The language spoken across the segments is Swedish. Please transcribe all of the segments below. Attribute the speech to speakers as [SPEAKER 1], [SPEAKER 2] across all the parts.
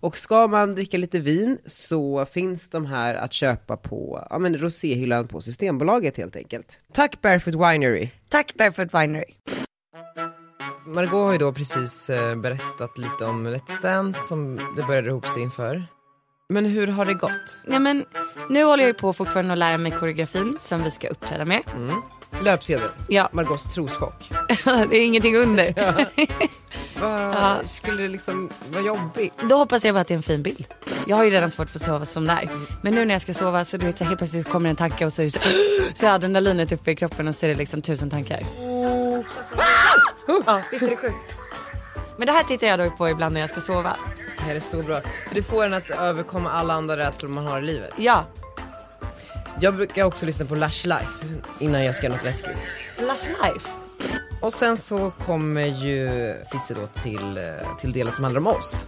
[SPEAKER 1] Och ska man dricka lite vin så finns de här att köpa på ja, men roséhyllan på Systembolaget helt enkelt. Tack Barefoot Winery!
[SPEAKER 2] Tack Barefoot Winery.
[SPEAKER 1] Margot har ju då precis eh, berättat lite om Let's Dance som det började ihop sig inför. Men hur har det gått?
[SPEAKER 2] Nej men, nu håller jag ju på fortfarande att lära mig koreografin som vi ska uppträda med.
[SPEAKER 1] Löpsedeln,
[SPEAKER 2] Ja,
[SPEAKER 1] Margots troschock.
[SPEAKER 2] det är ingenting under.
[SPEAKER 1] Vad
[SPEAKER 2] Ja.
[SPEAKER 1] skulle det liksom vara jobbigt?
[SPEAKER 2] Då hoppas jag bara att det är en fin bild. Jag har ju redan svårt för att sova som det är. Men nu när jag ska sova så du vet, så helt plötsligt kommer en tanke och så är det så, så är adrenalinet uppe i kroppen och så är det liksom tusen tankar. Oh. Ja, visst är det sjukt? Men det här tittar jag då på ibland när jag ska sova.
[SPEAKER 1] Det här är så bra. För det får en att överkomma alla andra rädslor man har i livet.
[SPEAKER 2] Ja,
[SPEAKER 1] Jag brukar också lyssna på Lush Life innan jag ska göra något läskigt.
[SPEAKER 2] Lush Life.
[SPEAKER 1] Och sen så kommer ju Cissi då till, eh, till delen som handlar om oss.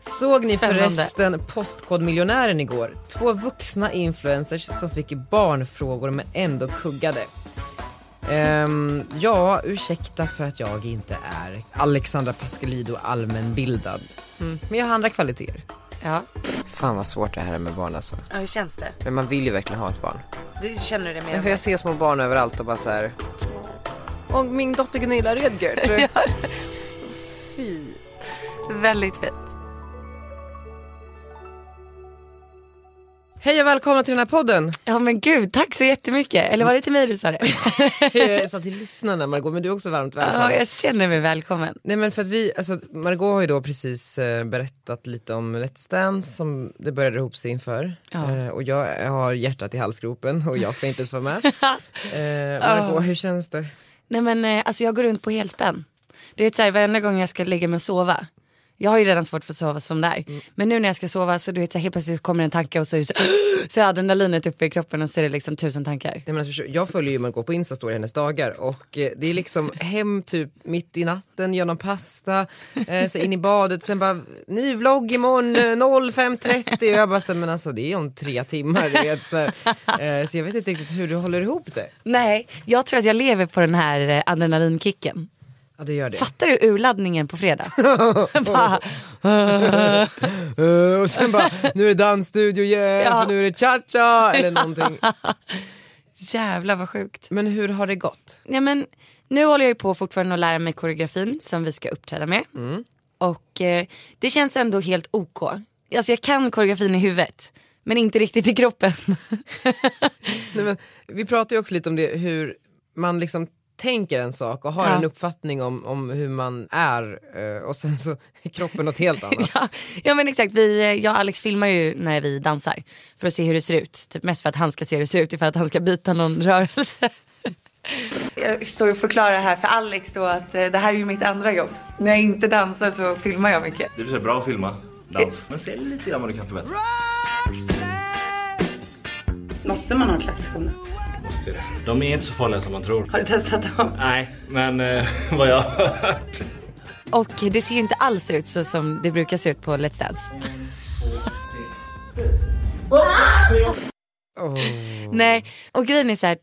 [SPEAKER 1] Såg ni
[SPEAKER 2] Spännande.
[SPEAKER 1] förresten Postkodmiljonären igår? Två vuxna influencers som fick barnfrågor men ändå kuggade. Ehm, ja, ursäkta för att jag inte är Alexandra Pascalido allmänbildad.
[SPEAKER 2] Mm.
[SPEAKER 1] Men jag har andra kvaliteter.
[SPEAKER 2] Ja.
[SPEAKER 1] Fan vad svårt det här är med barn alltså.
[SPEAKER 2] ja, hur känns det?
[SPEAKER 1] Men man vill ju verkligen ha ett barn.
[SPEAKER 2] Du känner det mer?
[SPEAKER 1] Alltså jag ser små barn överallt och bara så här. Och min dotter Gunilla Rödgert. Fy.
[SPEAKER 2] Väldigt fint.
[SPEAKER 1] Hej och välkomna till den här podden.
[SPEAKER 2] Ja men gud, tack så jättemycket. Eller var det till mig du sa det?
[SPEAKER 1] Jag sa till lyssnarna Margot, men du är också varmt
[SPEAKER 2] ja,
[SPEAKER 1] välkommen.
[SPEAKER 2] jag känner mig välkommen.
[SPEAKER 1] Nej men för att vi, alltså Margot har ju då precis eh, berättat lite om Let's Dance som det började ihop sig inför.
[SPEAKER 2] Ja.
[SPEAKER 1] Eh, och jag har hjärtat i halsgropen och jag ska inte ens vara med. eh, Margot, hur känns det?
[SPEAKER 2] Nej men eh, alltså jag går runt på helspänn. Det är så här, varenda gång jag ska lägga mig och sova. Jag har ju redan svårt för att sova som det är. Men nu när jag ska sova så du vet så här, helt plötsligt kommer en tanke och så är det så, så är adrenalinet uppe i kroppen och så är det liksom tusen tankar.
[SPEAKER 1] Nej, men alltså, jag följer ju Margot på Insta står i hennes dagar och eh, det är liksom hem typ mitt i natten, gör någon pasta, eh, så in i badet, sen bara ny vlogg imorgon eh, 05.30 och jag bara så, här, men alltså det är om tre timmar. du Vet, så, här. eh, så jag vet inte riktigt hur du håller ihop det.
[SPEAKER 2] Nej, jag tror att jag lever på den här eh, adrenalinkicken.
[SPEAKER 1] Ja det gör det.
[SPEAKER 2] Fattar du urladdningen på fredag? Bara,
[SPEAKER 1] Eh, och sen bara nu är det dansstudio igen,
[SPEAKER 2] Ja.
[SPEAKER 1] för nu är det cha-cha eller någonting.
[SPEAKER 2] jävlar vad sjukt.
[SPEAKER 1] Men hur har det gått?
[SPEAKER 2] Nej men nu håller jag ju på fortfarande att lära mig koreografin som vi ska uppträda med. Och eh, det känns ändå helt OK. Alltså jag kan koreografin i huvudet. Men inte riktigt i kroppen.
[SPEAKER 1] Nej, men, vi pratar ju också lite om det hur man liksom tänker en sak och har
[SPEAKER 2] Ja.
[SPEAKER 1] en uppfattning om, om hur man är eh, och sen så är kroppen något helt annat.
[SPEAKER 2] ja, ja men exakt, vi, eh, jag och Alex filmar ju när vi dansar. För att se hur det ser ut. Typ mest för att han ska se hur det ser ut, för att han ska byta någon rörelse.
[SPEAKER 3] Jag står och förklarar här för Alex då att eh, det här är ju mitt andra jobb. När jag inte dansar så filmar jag mycket.
[SPEAKER 4] Det blir så bra att filma dans. Men sälj lite grann vad du kan förbättra.
[SPEAKER 3] Måste man ha klackskor?
[SPEAKER 4] De är inte så farliga som man tror.
[SPEAKER 3] Har du testat dem?
[SPEAKER 4] Nej, men eh, vad jag har hört.
[SPEAKER 2] Och det ser ju inte alls ut så som det brukar se ut på Let's Dance. Nej, och grejen är så här, att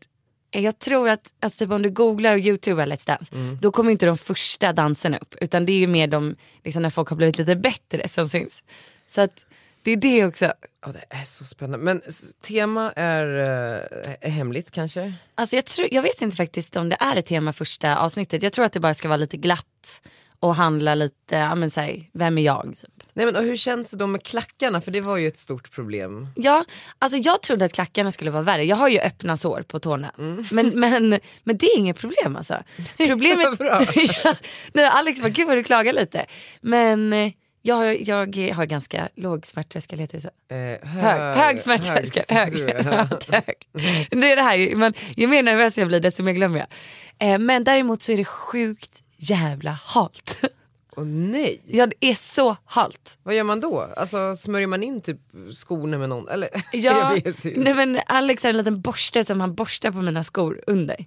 [SPEAKER 2] eh, jag tror att alltså typ om du googlar och youtubar Let's Dance, då kommer inte de första danserna upp. Utan det är ju mer de, liksom när folk har blivit lite bättre som syns. Så att det är det också.
[SPEAKER 1] Ja, det är så spännande. Men s- tema är, eh, är hemligt kanske?
[SPEAKER 2] Alltså jag, tror, jag vet inte faktiskt om det är ett tema första avsnittet. Jag tror att det bara ska vara lite glatt och handla lite, ja men så här, vem är jag? Typ.
[SPEAKER 1] Nej men och hur känns det då med klackarna? För det var ju ett stort problem.
[SPEAKER 2] Ja, alltså jag trodde att klackarna skulle vara värre. Jag har ju öppna sår på tårna. Men, men, men det är inget problem alltså. Problemet...
[SPEAKER 1] bra.
[SPEAKER 2] ja, nej, Alex bara, gud vad du klagar lite. Men eh, jag, har- jag har ganska låg smärttröskel, heter det så?
[SPEAKER 1] Eh, hög,
[SPEAKER 2] Hög, hög smärttröskel. Hög,
[SPEAKER 1] tror jag.
[SPEAKER 2] hög, Det är det här, men ju mer nervös jag blir desto mer glömmer jag. Eh, Men däremot så är det sjukt jävla halt.
[SPEAKER 1] Och nej,
[SPEAKER 2] Ja det är så halt.
[SPEAKER 1] vad gör man då? Alltså smörjer man in typ skorna med någon? Eller
[SPEAKER 2] Ja,
[SPEAKER 1] jag vet inte.
[SPEAKER 2] nej men Alex har en liten borste som han borstar på mina skor under.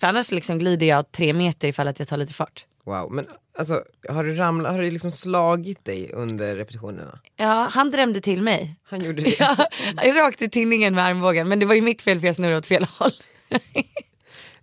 [SPEAKER 2] För annars liksom glider jag tre meter ifall att jag tar lite fart.
[SPEAKER 1] Wow, men alltså har du ramlat, har du liksom slagit dig under repetitionerna?
[SPEAKER 2] Ja, han drämde till mig.
[SPEAKER 1] Han gjorde det.
[SPEAKER 2] Ja, rakt i tinningen med armbågen men det var ju mitt fel för jag snurrade åt fel håll.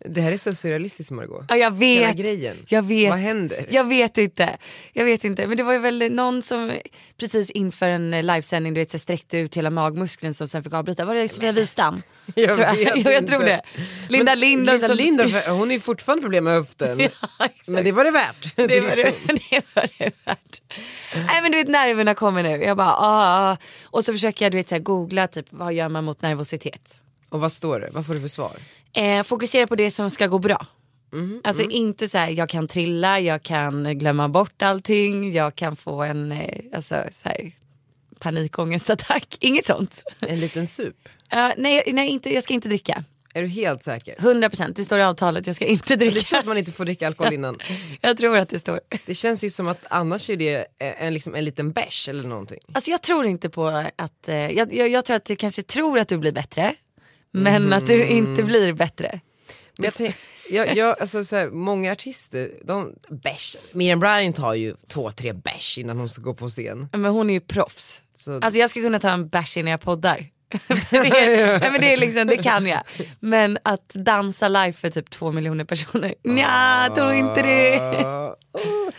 [SPEAKER 1] Det här är så surrealistiskt Margot.
[SPEAKER 2] Ja jag vet.
[SPEAKER 1] Hela grejen.
[SPEAKER 2] Jag vet.
[SPEAKER 1] Vad händer?
[SPEAKER 2] Jag vet inte. Jag vet inte. Men det var ju väl någon som precis inför en eh, livesändning du vet, så sträckte ut hela magmuskeln som sen fick avbryta. Var det Sofia Wistam?
[SPEAKER 1] Jag
[SPEAKER 2] tror,
[SPEAKER 1] vet
[SPEAKER 2] jag, jag
[SPEAKER 1] inte.
[SPEAKER 2] tror det. Linda
[SPEAKER 1] Men
[SPEAKER 2] Lindorff.
[SPEAKER 1] Linda
[SPEAKER 2] som-
[SPEAKER 1] Lindorff, hon är ju fortfarande problem med höften.
[SPEAKER 2] Ja, exakt.
[SPEAKER 1] men det var det värt. Liksom.
[SPEAKER 2] det var det, det var det värt. Nej men du vet nerverna kommer nu. Jag bara ah. ah. Och så försöker jag du vet så här, googla typ vad gör man mot nervositet.
[SPEAKER 1] Och vad står det? Vad får du för svar?
[SPEAKER 2] Eh, fokusera på det som ska gå bra.
[SPEAKER 1] Mm-hmm,
[SPEAKER 2] alltså inte så här, jag kan trilla, jag kan glömma bort allting, jag kan få en eh, alltså, så här, panikångestattack. Inget sånt.
[SPEAKER 1] En liten sup.
[SPEAKER 2] Eh, nej, nej inte, jag ska inte dricka.
[SPEAKER 1] Är du helt säker?
[SPEAKER 2] 100% det står i avtalet, jag ska inte
[SPEAKER 1] Det står
[SPEAKER 2] dricka.
[SPEAKER 1] att man inte får dricka alkohol innan.
[SPEAKER 2] jag tror att det står.
[SPEAKER 1] Det känns ju som att annars är det en, liksom en liten bärs eller någonting.
[SPEAKER 2] Alltså jag tror inte på att, eh, jag, jag, jag tror att du kanske tror att du blir bättre. Men att du inte blir bättre.
[SPEAKER 1] Men jag tänk, jag, jag, alltså, så här, många artister, de, bärs. Miriam Bryant tar ju två, tre bärs innan hon ska gå på scen.
[SPEAKER 2] Men hon är ju proffs.
[SPEAKER 1] Så-
[SPEAKER 2] Alltså jag skulle kunna ta en bärs innan jag poddar. det, är, nej men det, är liksom, det kan jag. Men att dansa live för typ två miljoner personer, Nja, jag tror inte det.
[SPEAKER 1] Ja, oh.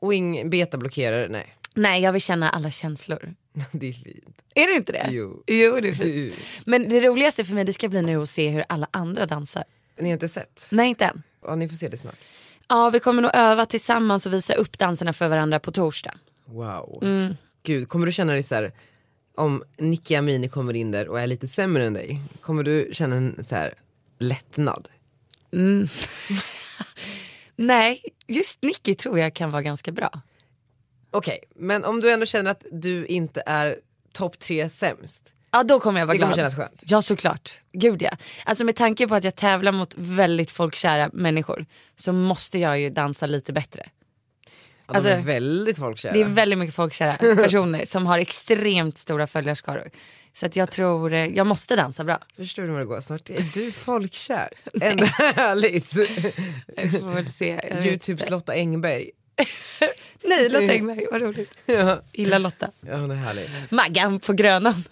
[SPEAKER 1] Och ing, betablockerare, nej.
[SPEAKER 2] Nej jag vill känna alla känslor.
[SPEAKER 1] Det är fint.
[SPEAKER 2] Är det inte det?
[SPEAKER 1] Jo.
[SPEAKER 2] det är fint. Men det roligaste för mig det ska bli nu att se hur alla andra dansar.
[SPEAKER 1] Ni har inte sett?
[SPEAKER 2] Nej inte än.
[SPEAKER 1] Ja, ni får se det snart.
[SPEAKER 2] Ja vi kommer nog öva tillsammans och visa upp danserna för varandra på torsdag.
[SPEAKER 1] Wow.
[SPEAKER 2] Mm.
[SPEAKER 1] Gud, kommer du känna dig så här, om Nicky Amini kommer in där och är lite sämre än dig, kommer du känna en så här lättnad?
[SPEAKER 2] Nej, just Nicky tror jag kan vara ganska bra.
[SPEAKER 1] Okej, men om du ändå känner att du inte är topp tre sämst,
[SPEAKER 2] Ja då kommer jag vara
[SPEAKER 1] Det kommer
[SPEAKER 2] glad.
[SPEAKER 1] kännas skönt.
[SPEAKER 2] Ja såklart, gud ja. Alltså med tanke på att jag tävlar mot väldigt folkkära människor så måste jag ju dansa lite bättre.
[SPEAKER 1] ja,
[SPEAKER 2] Alltså,
[SPEAKER 1] de är väldigt folkkära.
[SPEAKER 2] Det är väldigt mycket folkkära personer som har extremt stora följarskaror. Så att jag tror, eh, jag måste dansa bra.
[SPEAKER 1] Förstår du vad det går? Snart är du folkkär. Ändå härligt.
[SPEAKER 2] Vi får väl se. Jag vet
[SPEAKER 1] Youtubes
[SPEAKER 2] inte.
[SPEAKER 1] Lotta Engberg.
[SPEAKER 2] Nej Lotta Engberg, vad roligt.
[SPEAKER 1] Ja,
[SPEAKER 2] Gillar Lotta.
[SPEAKER 1] ja hon är härlig.
[SPEAKER 2] Maggan på Grönan.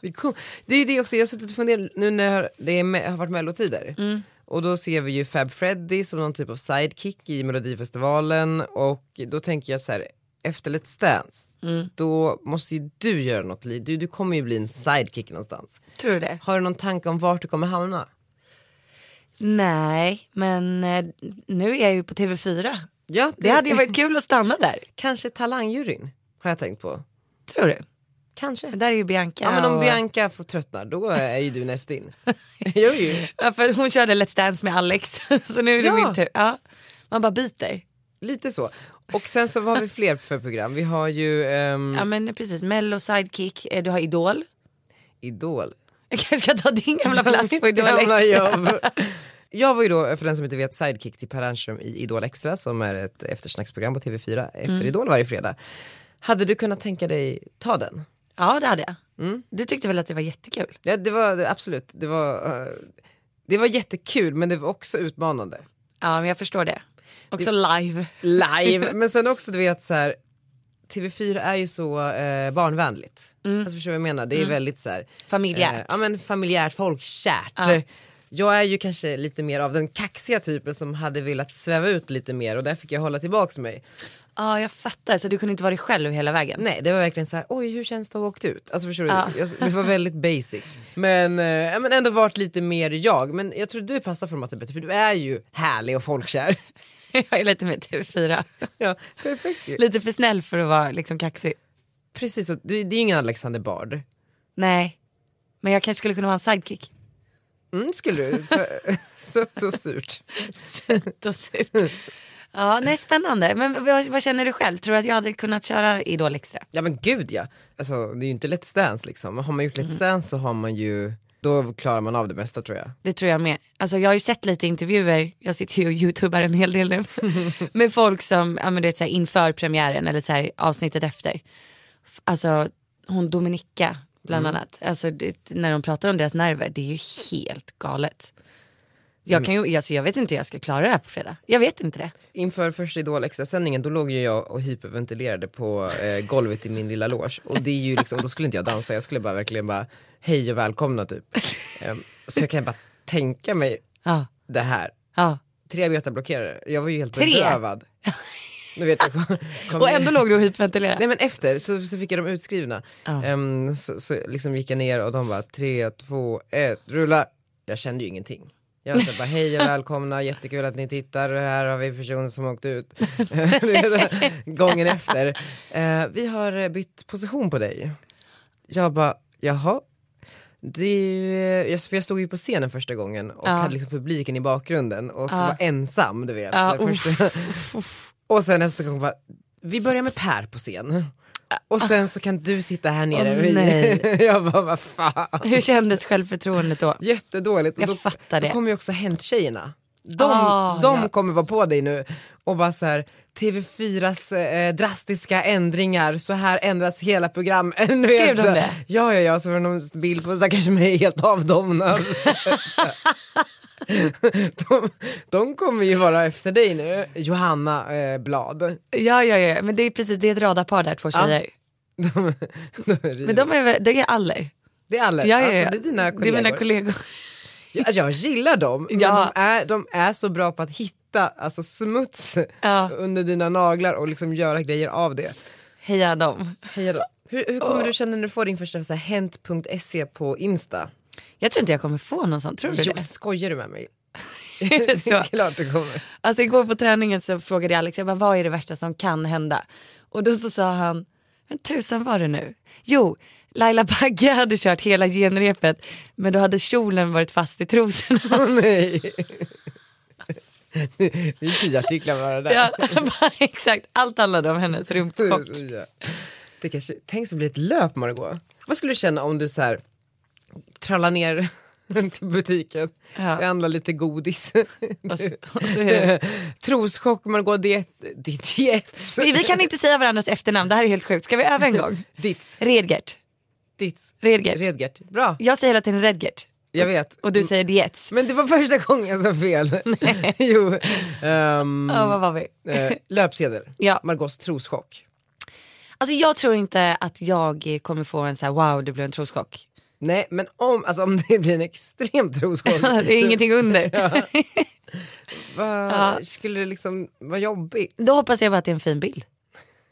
[SPEAKER 1] Det är, cool. det är det också, jag har suttit och funderat nu när det är, me- har varit mellotider.
[SPEAKER 2] Mm.
[SPEAKER 1] Och då ser vi ju Fab Freddy som någon typ av sidekick i melodifestivalen och då tänker jag så här efter Let's Dance,
[SPEAKER 2] Mm.
[SPEAKER 1] då måste ju du göra något, Li. du, du kommer ju bli en sidekick någonstans.
[SPEAKER 2] tror du det?
[SPEAKER 1] Har du någon tanke om vart du kommer hamna?
[SPEAKER 2] Nej, men eh, nu är jag ju på TV4.
[SPEAKER 1] Ja,
[SPEAKER 2] Det hade ju varit kul att stanna där.
[SPEAKER 1] Kanske talangjuryn har jag tänkt på.
[SPEAKER 2] Tror du?
[SPEAKER 1] Kanske.
[SPEAKER 2] Där är ju Bianca.
[SPEAKER 1] Ja, men om
[SPEAKER 2] och-
[SPEAKER 1] Bianca får tröttna då är ju du näst in. jo, ju.
[SPEAKER 2] Ja, för hon körde Let's Dance med Alex, så nu är det
[SPEAKER 1] Ja.
[SPEAKER 2] min tur. Ja. Man bara byter.
[SPEAKER 1] Lite så. Och sen så har vi fler för program. Vi har ju ehm,
[SPEAKER 2] Ja men precis, mello, sidekick, eh, du har Idol.
[SPEAKER 1] Idol.
[SPEAKER 2] Jag kanske ska ta din gamla plats på
[SPEAKER 1] Mitt
[SPEAKER 2] Idol
[SPEAKER 1] gamla
[SPEAKER 2] Extra.
[SPEAKER 1] jobb. Jag var ju då, för den som inte vet, sidekick till Per Ernström i Idol Extra som är ett eftersnacksprogram på TV4 efter
[SPEAKER 2] Mm.
[SPEAKER 1] Idol varje fredag. Hade du kunnat tänka dig ta den?
[SPEAKER 2] Ja det hade jag.
[SPEAKER 1] Mm.
[SPEAKER 2] Du tyckte väl att det var jättekul?
[SPEAKER 1] Ja, det var det- absolut, det var, eh, det var jättekul men det var också utmanande.
[SPEAKER 2] Ja men jag förstår det. Också live.
[SPEAKER 1] Live, men sen också du vet så här TV4 är ju så eh, barnvänligt.
[SPEAKER 2] Mm.
[SPEAKER 1] Alltså förstår du vad jag menar? Det är väldigt så här,
[SPEAKER 2] Familjärt.
[SPEAKER 1] Eh, ja men familjärt, folkkärt.
[SPEAKER 2] Ja.
[SPEAKER 1] Jag är ju kanske lite mer av den kaxiga typen som hade velat sväva ut lite mer och där fick jag hålla tillbaks mig.
[SPEAKER 2] Ja jag fattar, så du kunde inte vara dig själv hela vägen?
[SPEAKER 1] Nej det var verkligen så här, oj hur känns det att ha åkt ut? Alltså förstår du?
[SPEAKER 2] Ja.
[SPEAKER 1] Jag, det var väldigt basic. Men, eh, ja, men ändå varit lite mer jag. Men jag tror du passar formatet bättre för du är ju härlig och folkkär.
[SPEAKER 2] jag är lite mer TV4.
[SPEAKER 1] Ja, perfekt ju.
[SPEAKER 2] Lite för snäll för att vara liksom kaxig.
[SPEAKER 1] Precis, och du, det är ju ingen Alexander Bard.
[SPEAKER 2] Nej, men jag kanske skulle kunna vara en sidekick.
[SPEAKER 1] Mm, skulle du. Sött och surt.
[SPEAKER 2] Sött och surt. Ja, nej spännande. Men vad, vad känner du själv? Tror du att jag hade kunnat köra Idol Extra?
[SPEAKER 1] Ja men gud ja. Alltså det är ju inte Let's Dance liksom. Har man gjort Let's
[SPEAKER 2] Mm.
[SPEAKER 1] Dance så har man ju, då klarar man av det mesta tror jag.
[SPEAKER 2] Det tror jag med. Alltså jag har ju sett lite intervjuer, jag sitter ju och youtubar en hel del nu. med folk som, ja men du vet så här, inför premiären eller så här, avsnittet efter. F- Alltså hon Dominika bland annat. Alltså det, när de pratar om deras nerver, det är ju helt galet. Jag, kan ju, alltså, jag vet inte hur jag ska klara det här på fredag. Jag vet inte det.
[SPEAKER 1] Inför första Idol extrasändningen då låg ju jag och hyperventilerade på eh, golvet i min lilla loge. Och det är ju liksom, då skulle inte jag dansa, jag skulle bara verkligen bara hej och välkomna typ. Ehm, så jag kan bara tänka mig
[SPEAKER 2] Ja,
[SPEAKER 1] det här.
[SPEAKER 2] ja.
[SPEAKER 1] Tre betablockerare, jag var ju helt
[SPEAKER 2] Tre?
[SPEAKER 1] bedrövad. Nu vet jag, kom, kom
[SPEAKER 2] Och ändå låg du och hyperventilerade.
[SPEAKER 1] Nej men efter så, så fick jag dem utskrivna.
[SPEAKER 2] Ja.
[SPEAKER 1] Ehm, så, så liksom gick jag ner och de bara tre, två, ett, rulla. Jag kände ju ingenting. Jag sa bara hej och välkomna, jättekul att ni tittar, här har vi personer som åkt ut. Du vet, Gången efter. Eh, vi har eh, bytt position på dig. Jag bara, jaha. Du, eh, jag, för jag stod ju på scenen första gången och
[SPEAKER 2] Ja.
[SPEAKER 1] hade liksom publiken i bakgrunden och var ensam du vet.
[SPEAKER 2] Ja,
[SPEAKER 1] Så första, och sen nästa gång bara, vi börjar med Per på scen. Och sen så kan du sitta här nere.
[SPEAKER 2] Åh, nej.
[SPEAKER 1] jag bara, vad fan.
[SPEAKER 2] Hur kändes självförtroendet då?
[SPEAKER 1] Jättedåligt. Och
[SPEAKER 2] Jag fattar det.
[SPEAKER 1] Då kommer ju också Hänt-tjejerna. De,
[SPEAKER 2] Ah,
[SPEAKER 1] de
[SPEAKER 2] ja.
[SPEAKER 1] kommer vara på dig nu och bara så här, TV4s eh, drastiska ändringar, så här ändras hela program. Skrev
[SPEAKER 2] Skrev de det?
[SPEAKER 1] Ja, ja, ja, så var det någon bild på stackars mig helt avdomnad. de, de kommer ju vara efter dig nu, Johanna eh, Blad.
[SPEAKER 2] Ja, ja, ja, men det är precis, det är ett radarpar där, två tjejer.
[SPEAKER 1] De, de river.
[SPEAKER 2] Men de är, väl- det är aller.
[SPEAKER 1] det är alla,
[SPEAKER 2] Ja, ja,
[SPEAKER 1] alltså,
[SPEAKER 2] ja.
[SPEAKER 1] det är dina
[SPEAKER 2] Det är
[SPEAKER 1] kollegor.
[SPEAKER 2] mina kollegor.
[SPEAKER 1] Jag, alltså, jag gillar dem, men
[SPEAKER 2] Ja.
[SPEAKER 1] de, är, de är så bra på att hitta alltså, smuts
[SPEAKER 2] Ja.
[SPEAKER 1] under dina naglar och liksom göra grejer av det.
[SPEAKER 2] Heja dem.
[SPEAKER 1] Heja då. Hur, hur kommer du känna när du får din första så här, hent.se E på Insta?
[SPEAKER 2] Jag tror inte jag kommer få någon sån, tror du
[SPEAKER 1] Jo,
[SPEAKER 2] det?
[SPEAKER 1] skojar du med mig?
[SPEAKER 2] Är det så?
[SPEAKER 1] Klart du kommer.
[SPEAKER 2] Alltså igår på träningen så frågade jag Alex, jag bara, vad är det värsta som kan hända? Och då så sa han, men tusan var det nu? Jo, Laila Bagge hade kört hela genrepet men då hade kjolen varit fast i trosorna.
[SPEAKER 1] Åh nej. Det är tio artiklar bara där.
[SPEAKER 2] Ja, bara, exakt, allt handlade om hennes
[SPEAKER 1] Det är
[SPEAKER 2] rumpchock.
[SPEAKER 1] så jävla- Det kanske, tänk så blir det ett löp Margot. Vad skulle du känna om du så här trallar ner till butiken,
[SPEAKER 2] Ja.
[SPEAKER 1] ska handla lite godis.
[SPEAKER 2] Och så, och så är det.
[SPEAKER 1] Troschock Margot, diet, ditt diet.
[SPEAKER 2] Vi vi kan inte säga varandras efternamn, det här är helt sjukt. Ska vi öva en gång?
[SPEAKER 1] Ditt,
[SPEAKER 2] Redgert.
[SPEAKER 1] ditt,
[SPEAKER 2] Redgert.
[SPEAKER 1] Redgert. Bra,
[SPEAKER 2] Jag säger hela tiden Redgert
[SPEAKER 1] jag vet.
[SPEAKER 2] och du säger Dietz.
[SPEAKER 1] Men det var första gången jag sa fel. jo. ehm,
[SPEAKER 2] Ja, vad var vi?
[SPEAKER 1] eh, löpsedel,
[SPEAKER 2] Ja.
[SPEAKER 1] Margots troschock.
[SPEAKER 2] Alltså jag tror inte att jag kommer få en så här wow det blev en troschock.
[SPEAKER 1] Nej men om, alltså, om det blir en extrem troschock.
[SPEAKER 2] Det är ingenting under.
[SPEAKER 1] Vad
[SPEAKER 2] Ja.
[SPEAKER 1] skulle det liksom vara jobbigt?
[SPEAKER 2] Då hoppas jag bara att det är en fin bild.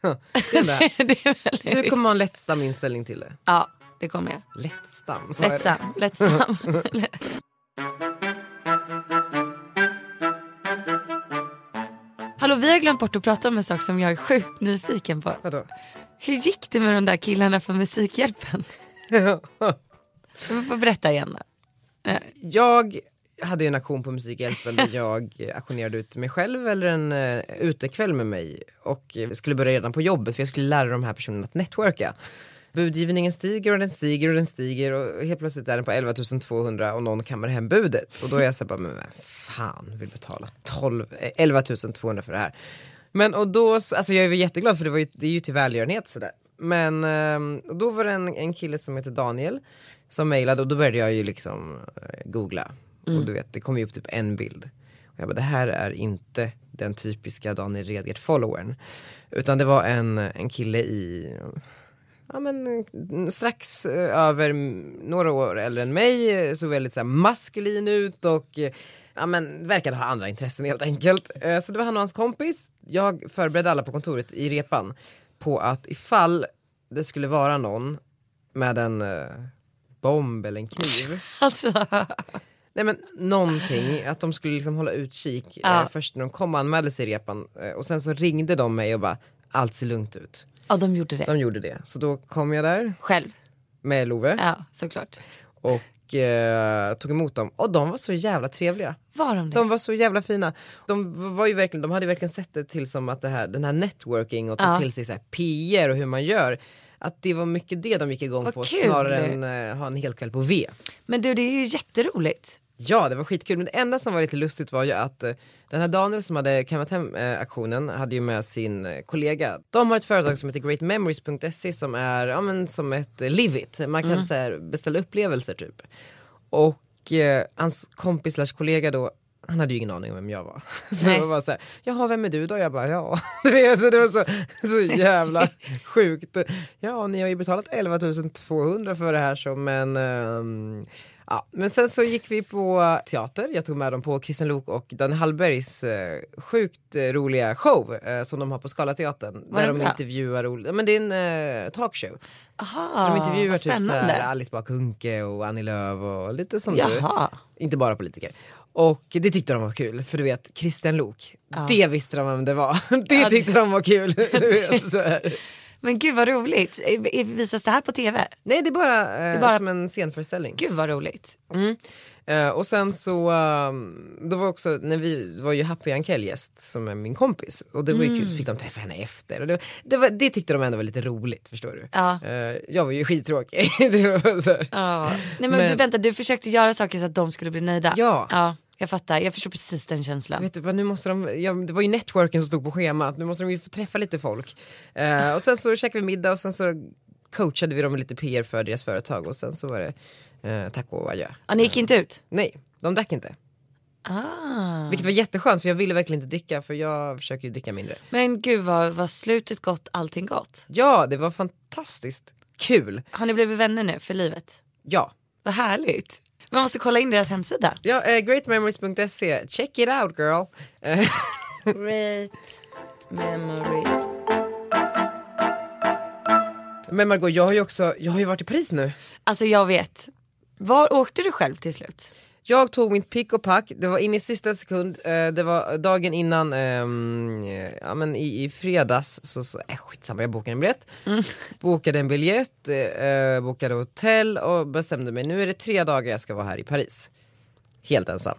[SPEAKER 1] Det är det.
[SPEAKER 2] det är väldigt...
[SPEAKER 1] Du kommer ha en lättsam inställning till det.
[SPEAKER 2] Ja, det kommer jag.
[SPEAKER 1] Lättsam, så är det.
[SPEAKER 2] Lättsam, lättsam. Hallå, vi har glömt bort att prata om en sak som jag är sjukt nyfiken på.
[SPEAKER 1] Vadå?
[SPEAKER 2] Hur gick det med de där killarna från Musikhjälpen? Du får berätta igen. då.
[SPEAKER 1] Jag hade ju en aktion på Musikhjälpen där jag aktionerade ut mig själv eller en uh, utekväll med mig och eh, skulle börja redan på jobbet för jag skulle lära de här personerna att networka. Budgivningen stiger och den stiger och den stiger och helt plötsligt är den på 11 200 och någon kammar hem budet. Och då är jag så här bara, men vem fan vill betala 12, eh, 11 200 för det här? Men och då, s- alltså jag är väl jätteglad för det, var ju, det är ju till välgörenhet sådär. Men ehm, och då var det en, en kille som heter Daniel som mejlade och då började jag ju liksom eh, googla. Och du vet, det kom ju upp typ en bild. Och jag bara, det här är inte den typiska Daniel Redgert-followern. Utan det var en, en kille i, ja men mm, strax eh, över mm, några år äldre än mig, eh, såg väldigt så här, maskulin ut och eh, ja men verkade ha andra intressen helt enkelt. Eh, Så det var han och hans kompis. Jag förberedde alla på kontoret i repan på att ifall det skulle vara någon med en eh, bomb eller en kniv
[SPEAKER 2] Alltså,
[SPEAKER 1] Nej men någonting, att de skulle liksom hålla utkik
[SPEAKER 2] Ja.
[SPEAKER 1] eh, först när de kom och anmälde sig i repan eh, och sen så ringde de mig och bara allt ser lugnt ut.
[SPEAKER 2] Ja de gjorde det.
[SPEAKER 1] De gjorde det. Så då kom jag där
[SPEAKER 2] Själv.
[SPEAKER 1] med Love
[SPEAKER 2] Ja såklart.
[SPEAKER 1] och eh, tog emot dem och de var så jävla trevliga.
[SPEAKER 2] Var de det?
[SPEAKER 1] De var så jävla fina. De, var ju verkligen, de hade ju verkligen sett det till som att det här, den här networking och ta
[SPEAKER 2] Ja.
[SPEAKER 1] till sig så här PR och hur man gör. Att det var mycket det de gick igång
[SPEAKER 2] Vad
[SPEAKER 1] på
[SPEAKER 2] kul.
[SPEAKER 1] snarare än eh, ha en hel kväll på V.
[SPEAKER 2] Men du det är ju jätteroligt.
[SPEAKER 1] Ja det var skitkul men det enda som var lite lustigt var ju att eh, den här Daniel som hade kammat hem eh, aktionen hade ju med sin eh, kollega. De har ett företag som heter greatmemories.se som är ja, men, som ett eh, live it. Man kan så här, beställa upplevelser typ. Och eh, hans kompis slash kollega då han hade ju ingen aning om vem jag var. Så
[SPEAKER 2] Nej.
[SPEAKER 1] det var bara såhär, jaha vem är du då? Jag bara ja. Du vet, så det var så, så jävla sjukt. Ja ni har ju betalat 11 200 för det här så men ehm, Ja, men sen så gick vi på teater, jag tog med dem på Kristian Lok och Dan Hallbergs eh, sjukt eh, roliga show eh, som de har på Scalateatern.
[SPEAKER 2] Var
[SPEAKER 1] Där
[SPEAKER 2] den
[SPEAKER 1] de
[SPEAKER 2] bra?
[SPEAKER 1] intervjuar, ol- ja, men det är en eh, talkshow.
[SPEAKER 2] Aha,
[SPEAKER 1] Så de intervjuar
[SPEAKER 2] Ah, vad
[SPEAKER 1] typ så
[SPEAKER 2] spännande.
[SPEAKER 1] här Alice Bah Kuhnke och Annie Lööf och lite som
[SPEAKER 2] Jaha.
[SPEAKER 1] du. Inte bara politiker. Och det tyckte de var kul, för du vet Kristian Lok, det visste de vem det var. Det
[SPEAKER 2] Ja,
[SPEAKER 1] tyckte de var kul. Du vet, så här.
[SPEAKER 2] Men gud vad roligt. I- i- Visas det här på tv?
[SPEAKER 1] Nej det är bara, eh,
[SPEAKER 2] bara-
[SPEAKER 1] som en scenföreställning.
[SPEAKER 2] Gud vad roligt.
[SPEAKER 1] Mm. Eh, och sen så, eh, då var också, när vi det var ju Happy Ankell gäst som är min kompis och det var ju kul så fick de träffa henne efter och det, det, var, det tyckte de ändå var lite roligt förstår du.
[SPEAKER 2] Ja.
[SPEAKER 1] Eh, jag var ju skittråkig. det var så här.
[SPEAKER 2] Ja. Nej men,
[SPEAKER 1] Men-
[SPEAKER 2] du vänta, du försökte göra saker så att de skulle bli nöjda.
[SPEAKER 1] Ja.
[SPEAKER 2] ja jag fattar, jag förstår precis den känslan.
[SPEAKER 1] Vet du vad, nu måste de, ja, det var ju networken som stod på schemat, nu måste de ju få träffa lite folk. Eh, och sen så käkade vi middag och sen så coachade vi dem lite PR för deras företag och sen så var det eh, tack och adjö.
[SPEAKER 2] Ja, ni gick inte ut?
[SPEAKER 1] Nej, de drack inte.
[SPEAKER 2] Ah.
[SPEAKER 1] Vilket var jätteskönt för jag ville verkligen inte dricka för jag försöker ju dricka mindre.
[SPEAKER 2] Men gud vad, vad slutet gott, allting gott.
[SPEAKER 1] Ja, det var fantastiskt kul.
[SPEAKER 2] Har ni blivit vänner nu för livet?
[SPEAKER 1] Ja.
[SPEAKER 2] Vad härligt. Man måste kolla in deras hemsida.
[SPEAKER 1] ja eh, greatmemories.se, check it out girl. Eh,
[SPEAKER 2] Great memories.
[SPEAKER 1] Men Margot, jag har ju också, jag har ju varit i Paris nu.
[SPEAKER 2] Alltså jag vet. Var åkte du själv till slut?
[SPEAKER 1] Jag tog mitt pick och pack, det var in i sista sekund, eh, det var dagen innan, ehm, eh, ja men i, i fredags så, så eh, skitsamma jag bokade en biljett. Bokade en biljett, eh, eh, bokade hotell och bestämde mig, nu är det tre dagar jag ska vara här i Paris. Helt ensam.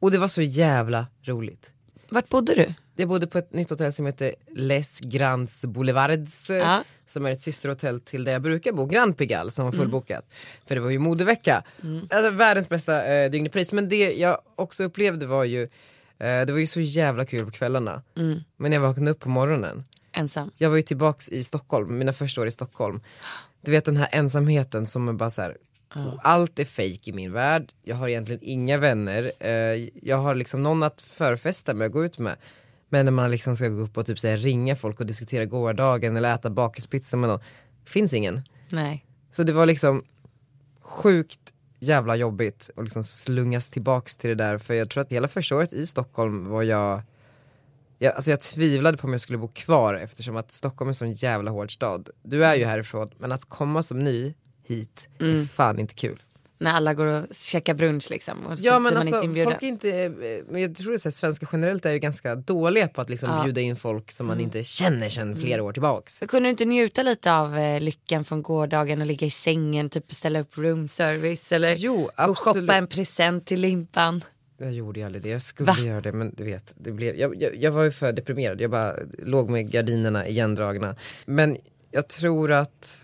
[SPEAKER 1] Och det var så jävla roligt.
[SPEAKER 2] Vart bodde du?
[SPEAKER 1] Jag bodde på ett nytt hotell som heter Les Grands Boulevards. eh,
[SPEAKER 2] Ja.
[SPEAKER 1] Som är ett systerhotell till där jag brukar bo, Grand Pigalle som var fullbokat. För det var ju modevecka. Alltså, världens bästa eh, dygnepris. Men det jag också upplevde var ju, eh, det var ju så jävla kul på kvällarna. Men när jag vaknade upp på morgonen,
[SPEAKER 2] Ensam.
[SPEAKER 1] jag var ju tillbaks i Stockholm, mina första år i Stockholm. Du vet den här ensamheten som är bara så här. Allt är fake i min värld, jag har egentligen inga vänner, eh, jag har liksom någon att förfesta med och gå ut med. Men när man liksom ska gå upp och typ så här, ringa folk och diskutera gårdagen eller äta bakispizza med någon, finns ingen.
[SPEAKER 2] Nej.
[SPEAKER 1] Så det var liksom sjukt jävla jobbigt att liksom slungas tillbaks till det där för jag tror att hela första året i Stockholm var jag, jag Alltså jag tvivlade på om jag skulle bo kvar eftersom att Stockholm är en sån jävla hård stad. Du är ju härifrån men att komma som ny hit är fan inte kul.
[SPEAKER 2] När alla går och käkar brunch liksom. Och så
[SPEAKER 1] Ja men
[SPEAKER 2] blir man
[SPEAKER 1] alltså
[SPEAKER 2] inte inbjuden.
[SPEAKER 1] folk är inte, eh, men jag tror att svenskar generellt är ju ganska dåliga på att liksom
[SPEAKER 2] Ja. Mm.
[SPEAKER 1] bjuda in folk som man inte känner sedan flera år tillbaks.
[SPEAKER 2] Så kunde du inte njuta lite av eh, lyckan från gårdagen och ligga i sängen, typ beställa upp room service eller
[SPEAKER 1] Jo,
[SPEAKER 2] gå och
[SPEAKER 1] absolut.
[SPEAKER 2] shoppa en present till limpan?
[SPEAKER 1] Jag gjorde ju aldrig det, jag skulle
[SPEAKER 2] Va?
[SPEAKER 1] göra det men du vet, det blev, jag, jag, jag var ju för deprimerad, jag bara låg med gardinerna igendragna. Men jag tror att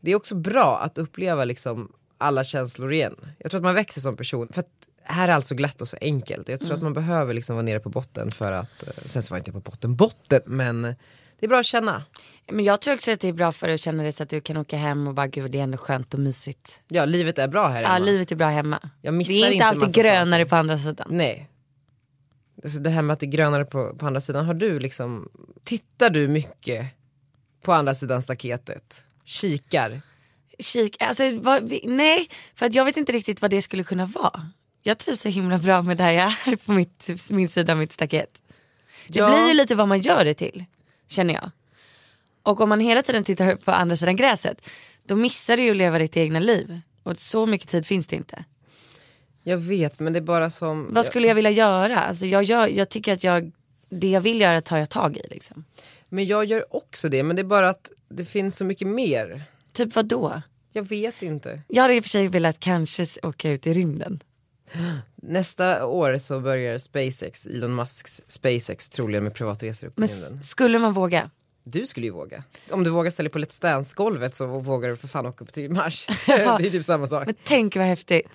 [SPEAKER 1] det är också bra att uppleva liksom alla känslor igen. Jag tror att man växer som person, för att här är allt så glatt och så enkelt. Jag tror
[SPEAKER 2] Mm.
[SPEAKER 1] att man behöver liksom vara nere på botten för att, eh, sen så var jag inte på botten, botten, men det är bra att känna.
[SPEAKER 2] Men jag tror också att det är bra för dig att känna det så att du kan åka hem och bara gud det är ändå skönt och mysigt.
[SPEAKER 1] Ja, livet är bra här
[SPEAKER 2] Ja,
[SPEAKER 1] hemma.
[SPEAKER 2] livet är bra hemma.
[SPEAKER 1] Jag missar
[SPEAKER 2] det är
[SPEAKER 1] inte
[SPEAKER 2] inte alltid
[SPEAKER 1] massa
[SPEAKER 2] grönare på andra sidan.
[SPEAKER 1] Nej. Alltså det här med att det är grönare på, på andra sidan, har du liksom, tittar du mycket på andra sidan staketet? Kikar?
[SPEAKER 2] Kik, alltså, vad, vi, nej, för att jag vet inte riktigt vad det skulle kunna vara. Jag trivs så himla bra med där jag är på mitt, min sida av mitt staket. Det
[SPEAKER 1] Ja.
[SPEAKER 2] blir ju lite vad man gör det till, känner jag. Och om man hela tiden tittar på andra sidan gräset, då missar du ju att leva ditt egna liv. Och så mycket tid finns det inte.
[SPEAKER 1] Jag vet men det är bara som...
[SPEAKER 2] Vad skulle jag vilja göra? Alltså jag, gör, jag tycker att jag, det jag vill göra tar jag tag i. Liksom.
[SPEAKER 1] Men jag gör också det men det är bara att det finns så mycket mer.
[SPEAKER 2] Typ vad då?
[SPEAKER 1] Jag vet inte.
[SPEAKER 2] Jag hade i och för sig velat kanske s- åka ut i rymden.
[SPEAKER 1] Nästa år så börjar SpaceX, Elon Musks SpaceX troligen med privatresor upp till
[SPEAKER 2] Men s-
[SPEAKER 1] rymden.
[SPEAKER 2] skulle man våga?
[SPEAKER 1] Du skulle ju våga. Om du vågar ställa dig på Let's Dance-golvet så vågar du för fan åka upp till Mars. det är typ samma sak.
[SPEAKER 2] Men tänk vad häftigt.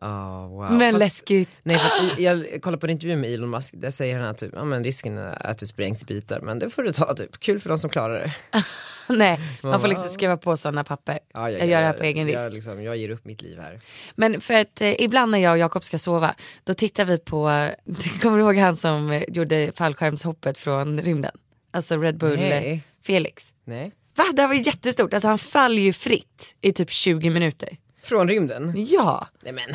[SPEAKER 1] Ah, wow.
[SPEAKER 2] Men
[SPEAKER 1] Fast-
[SPEAKER 2] läskigt.
[SPEAKER 1] Nej, för jag, jag kollade på en intervju med Elon Musk, där säger han att typ, ja, men risken är att du sprängs i bitar, men det får du ta typ. Kul för de som klarar det.
[SPEAKER 2] Nej, man får
[SPEAKER 1] bara,
[SPEAKER 2] liksom skriva på sådana papper.
[SPEAKER 1] Ja,
[SPEAKER 2] jag, gör det här på egen risk.
[SPEAKER 1] Jag, liksom, jag ger upp mitt liv här.
[SPEAKER 2] Men för att eh, ibland när jag och Jakob ska sova, då tittar vi på, kommer du ihåg han som eh, gjorde fallskärmshoppet från rymden? Alltså Red Bull eh,
[SPEAKER 1] Nej.
[SPEAKER 2] Felix.
[SPEAKER 1] Nej.
[SPEAKER 2] Va? Det här var ju jättestort, alltså han faller ju fritt i typ 20 minuter.
[SPEAKER 1] Från rymden?
[SPEAKER 2] Ja,
[SPEAKER 1] Nej men,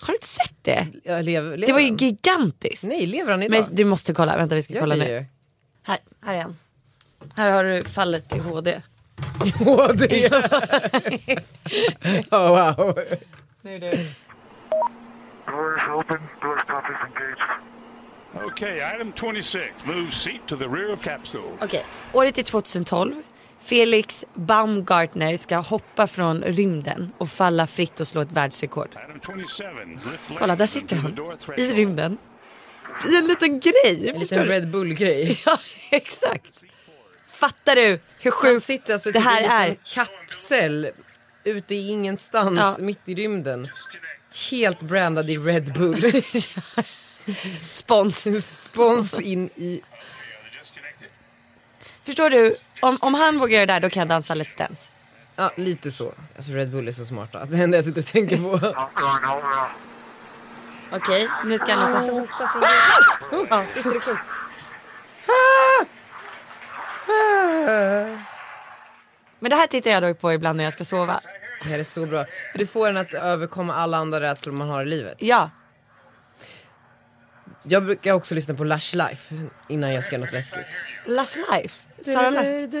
[SPEAKER 2] har du inte sett det?
[SPEAKER 1] jag lever, lever
[SPEAKER 2] Det var ju
[SPEAKER 1] han?
[SPEAKER 2] gigantiskt.
[SPEAKER 1] Nej, lever han idag?
[SPEAKER 2] Men du måste kolla, vänta vi ska
[SPEAKER 1] Gör
[SPEAKER 2] kolla
[SPEAKER 1] det
[SPEAKER 2] nu.
[SPEAKER 1] ju.
[SPEAKER 2] Här, här är han. Här har du fallet i HD.
[SPEAKER 1] Åh, det oh, wow.
[SPEAKER 5] Doors open, doors copies engaged.
[SPEAKER 6] Okay, item 26. Move seat to the rear of capsule.
[SPEAKER 2] Okej, året är 2012. Felix Baumgartner ska hoppa från rymden och falla fritt och slå ett världsrekord.
[SPEAKER 6] Item 27. Lift left
[SPEAKER 2] Kolla, där
[SPEAKER 6] and
[SPEAKER 2] sitter
[SPEAKER 6] to the
[SPEAKER 2] han.
[SPEAKER 6] door threshold.
[SPEAKER 2] I rymden. I en liten grej.
[SPEAKER 1] En
[SPEAKER 2] förstår
[SPEAKER 1] liten
[SPEAKER 2] du?
[SPEAKER 1] Red Bull-grej.
[SPEAKER 2] Ja, exakt. Fattar du hur
[SPEAKER 1] Han
[SPEAKER 2] sjukt
[SPEAKER 1] sitter alltså
[SPEAKER 2] det
[SPEAKER 1] typ i
[SPEAKER 2] här
[SPEAKER 1] en
[SPEAKER 2] är?
[SPEAKER 1] liten kapsel ute i ingenstans,
[SPEAKER 2] Ja.
[SPEAKER 1] mitt i rymden. Helt brandad i Red Bull.
[SPEAKER 2] Spons.
[SPEAKER 1] Spons in i...
[SPEAKER 2] Förstår du? Om, om han vågar göra det där då kan jag dansa Let's Dance.
[SPEAKER 1] Ja, lite så. Alltså Red Bull är så smarta. Det enda jag sitter och tänker på.
[SPEAKER 5] Outrun, outrun.
[SPEAKER 2] Okej, nu ska han alltså hoppa från rymden. Ja, visst är det sjukt? Men det här tittar jag då på ibland när jag ska sova.
[SPEAKER 1] Det här är så bra. För det får en att överkomma alla andra rädslor man har i livet.
[SPEAKER 2] Ja,
[SPEAKER 1] Jag brukar också lyssna på Lush Life innan jag ska göra något läskigt.
[SPEAKER 2] Lush Life. Sara Lush.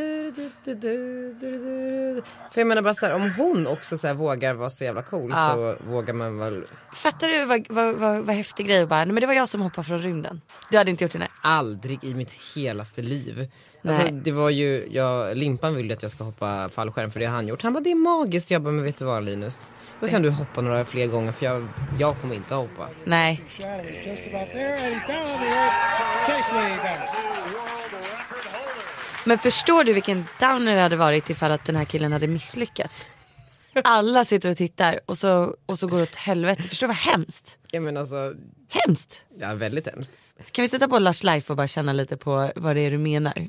[SPEAKER 1] För jag menar bara såhär, om hon också så här vågar vara så jävla cool
[SPEAKER 2] Ja.
[SPEAKER 1] så vågar man väl
[SPEAKER 2] Fattar du vad, vad, vad, vad häftig grej att bara, nej men det var jag som hoppade från rymden. Du hade inte gjort det nej.
[SPEAKER 1] aldrig i mitt helaste liv.
[SPEAKER 2] Nej.
[SPEAKER 1] Alltså det var ju, jag, Limpan ville att jag ska hoppa fallskärm för det har han gjort. Han bara det är magiskt. Jag bara men vet du vad Linus? Då kan du hoppa några fler gånger för jag, jag kommer inte att hoppa.
[SPEAKER 2] Nej.
[SPEAKER 7] Shadow is just about there, and he's down on the earth safely down.
[SPEAKER 2] Men förstår du vilken downer det hade varit ifall att den här killen hade misslyckats? Alla sitter och tittar och så, och så går det åt helvete. Förstår du vad hemskt?
[SPEAKER 1] Ja men alltså,
[SPEAKER 2] Hemskt!
[SPEAKER 1] ja väldigt hemskt.
[SPEAKER 2] Kan vi sätta på Lush Life och bara känna lite på vad det är du menar?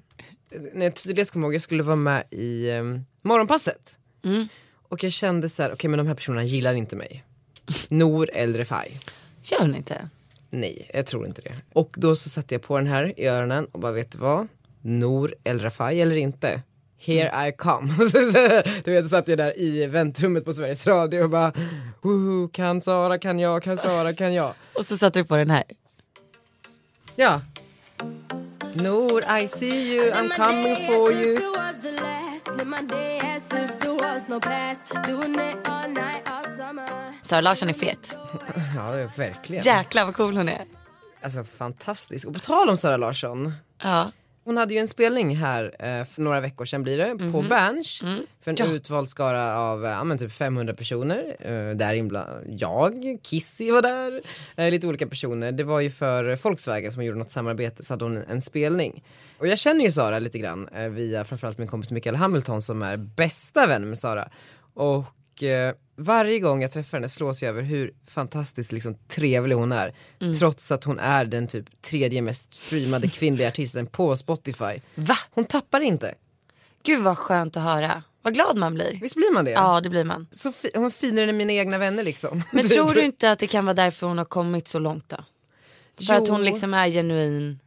[SPEAKER 1] när jag tydligast kommer ihåg, jag skulle vara med i ehm, morgonpasset. Och jag kände så här, okej men de här personerna gillar inte mig. Nor eller Refai.
[SPEAKER 2] Gör hon inte?
[SPEAKER 1] Nej, jag tror inte det. Och då så satte jag på den här i öronen och bara, vet du vad? Nor eller Refai eller inte? Here I come. du vet, så satt jag där i väntrummet på Sveriges Radio och bara, woho, kan Sara, kan jag, kan Sara, kan jag.
[SPEAKER 2] Och så satte du på den här.
[SPEAKER 1] Ja. Nor, I see you, I'm coming for you.
[SPEAKER 2] Sara Larsson är fet.
[SPEAKER 1] Ja, verkligen.
[SPEAKER 2] Jäklar vad cool hon är.
[SPEAKER 1] Alltså fantastisk. Och på tal om Sara Larsson.
[SPEAKER 2] Ja.
[SPEAKER 1] Hon hade ju en spelning här eh, för några veckor sedan blir det, på Berns. För en utvald skara av eh, ja, men typ 500 personer. Eh, där inbland, jag, Kissy var där, eh, lite olika personer. Det var ju för Volkswagen som gjorde något samarbete så hade hon en spelning. Och jag känner ju Sara lite grann eh, via framförallt min kompis Mikael Hamilton som är bästa vän med Sara. Och eh, varje gång jag träffar henne slås jag över hur fantastiskt liksom, trevlig hon är.
[SPEAKER 2] Mm.
[SPEAKER 1] Trots att hon är den typ tredje mest streamade kvinnliga artisten på Spotify.
[SPEAKER 2] Va?
[SPEAKER 1] Hon tappar inte.
[SPEAKER 2] Gud vad skönt att höra. Vad glad man blir.
[SPEAKER 1] Visst blir man det?
[SPEAKER 2] Ja det blir man.
[SPEAKER 1] Så fi- hon är finare än mina egna vänner liksom.
[SPEAKER 2] Men
[SPEAKER 1] Typ.
[SPEAKER 2] tror du inte att det kan vara därför hon har kommit så långt då? För att
[SPEAKER 1] Jo.
[SPEAKER 2] hon liksom är genuin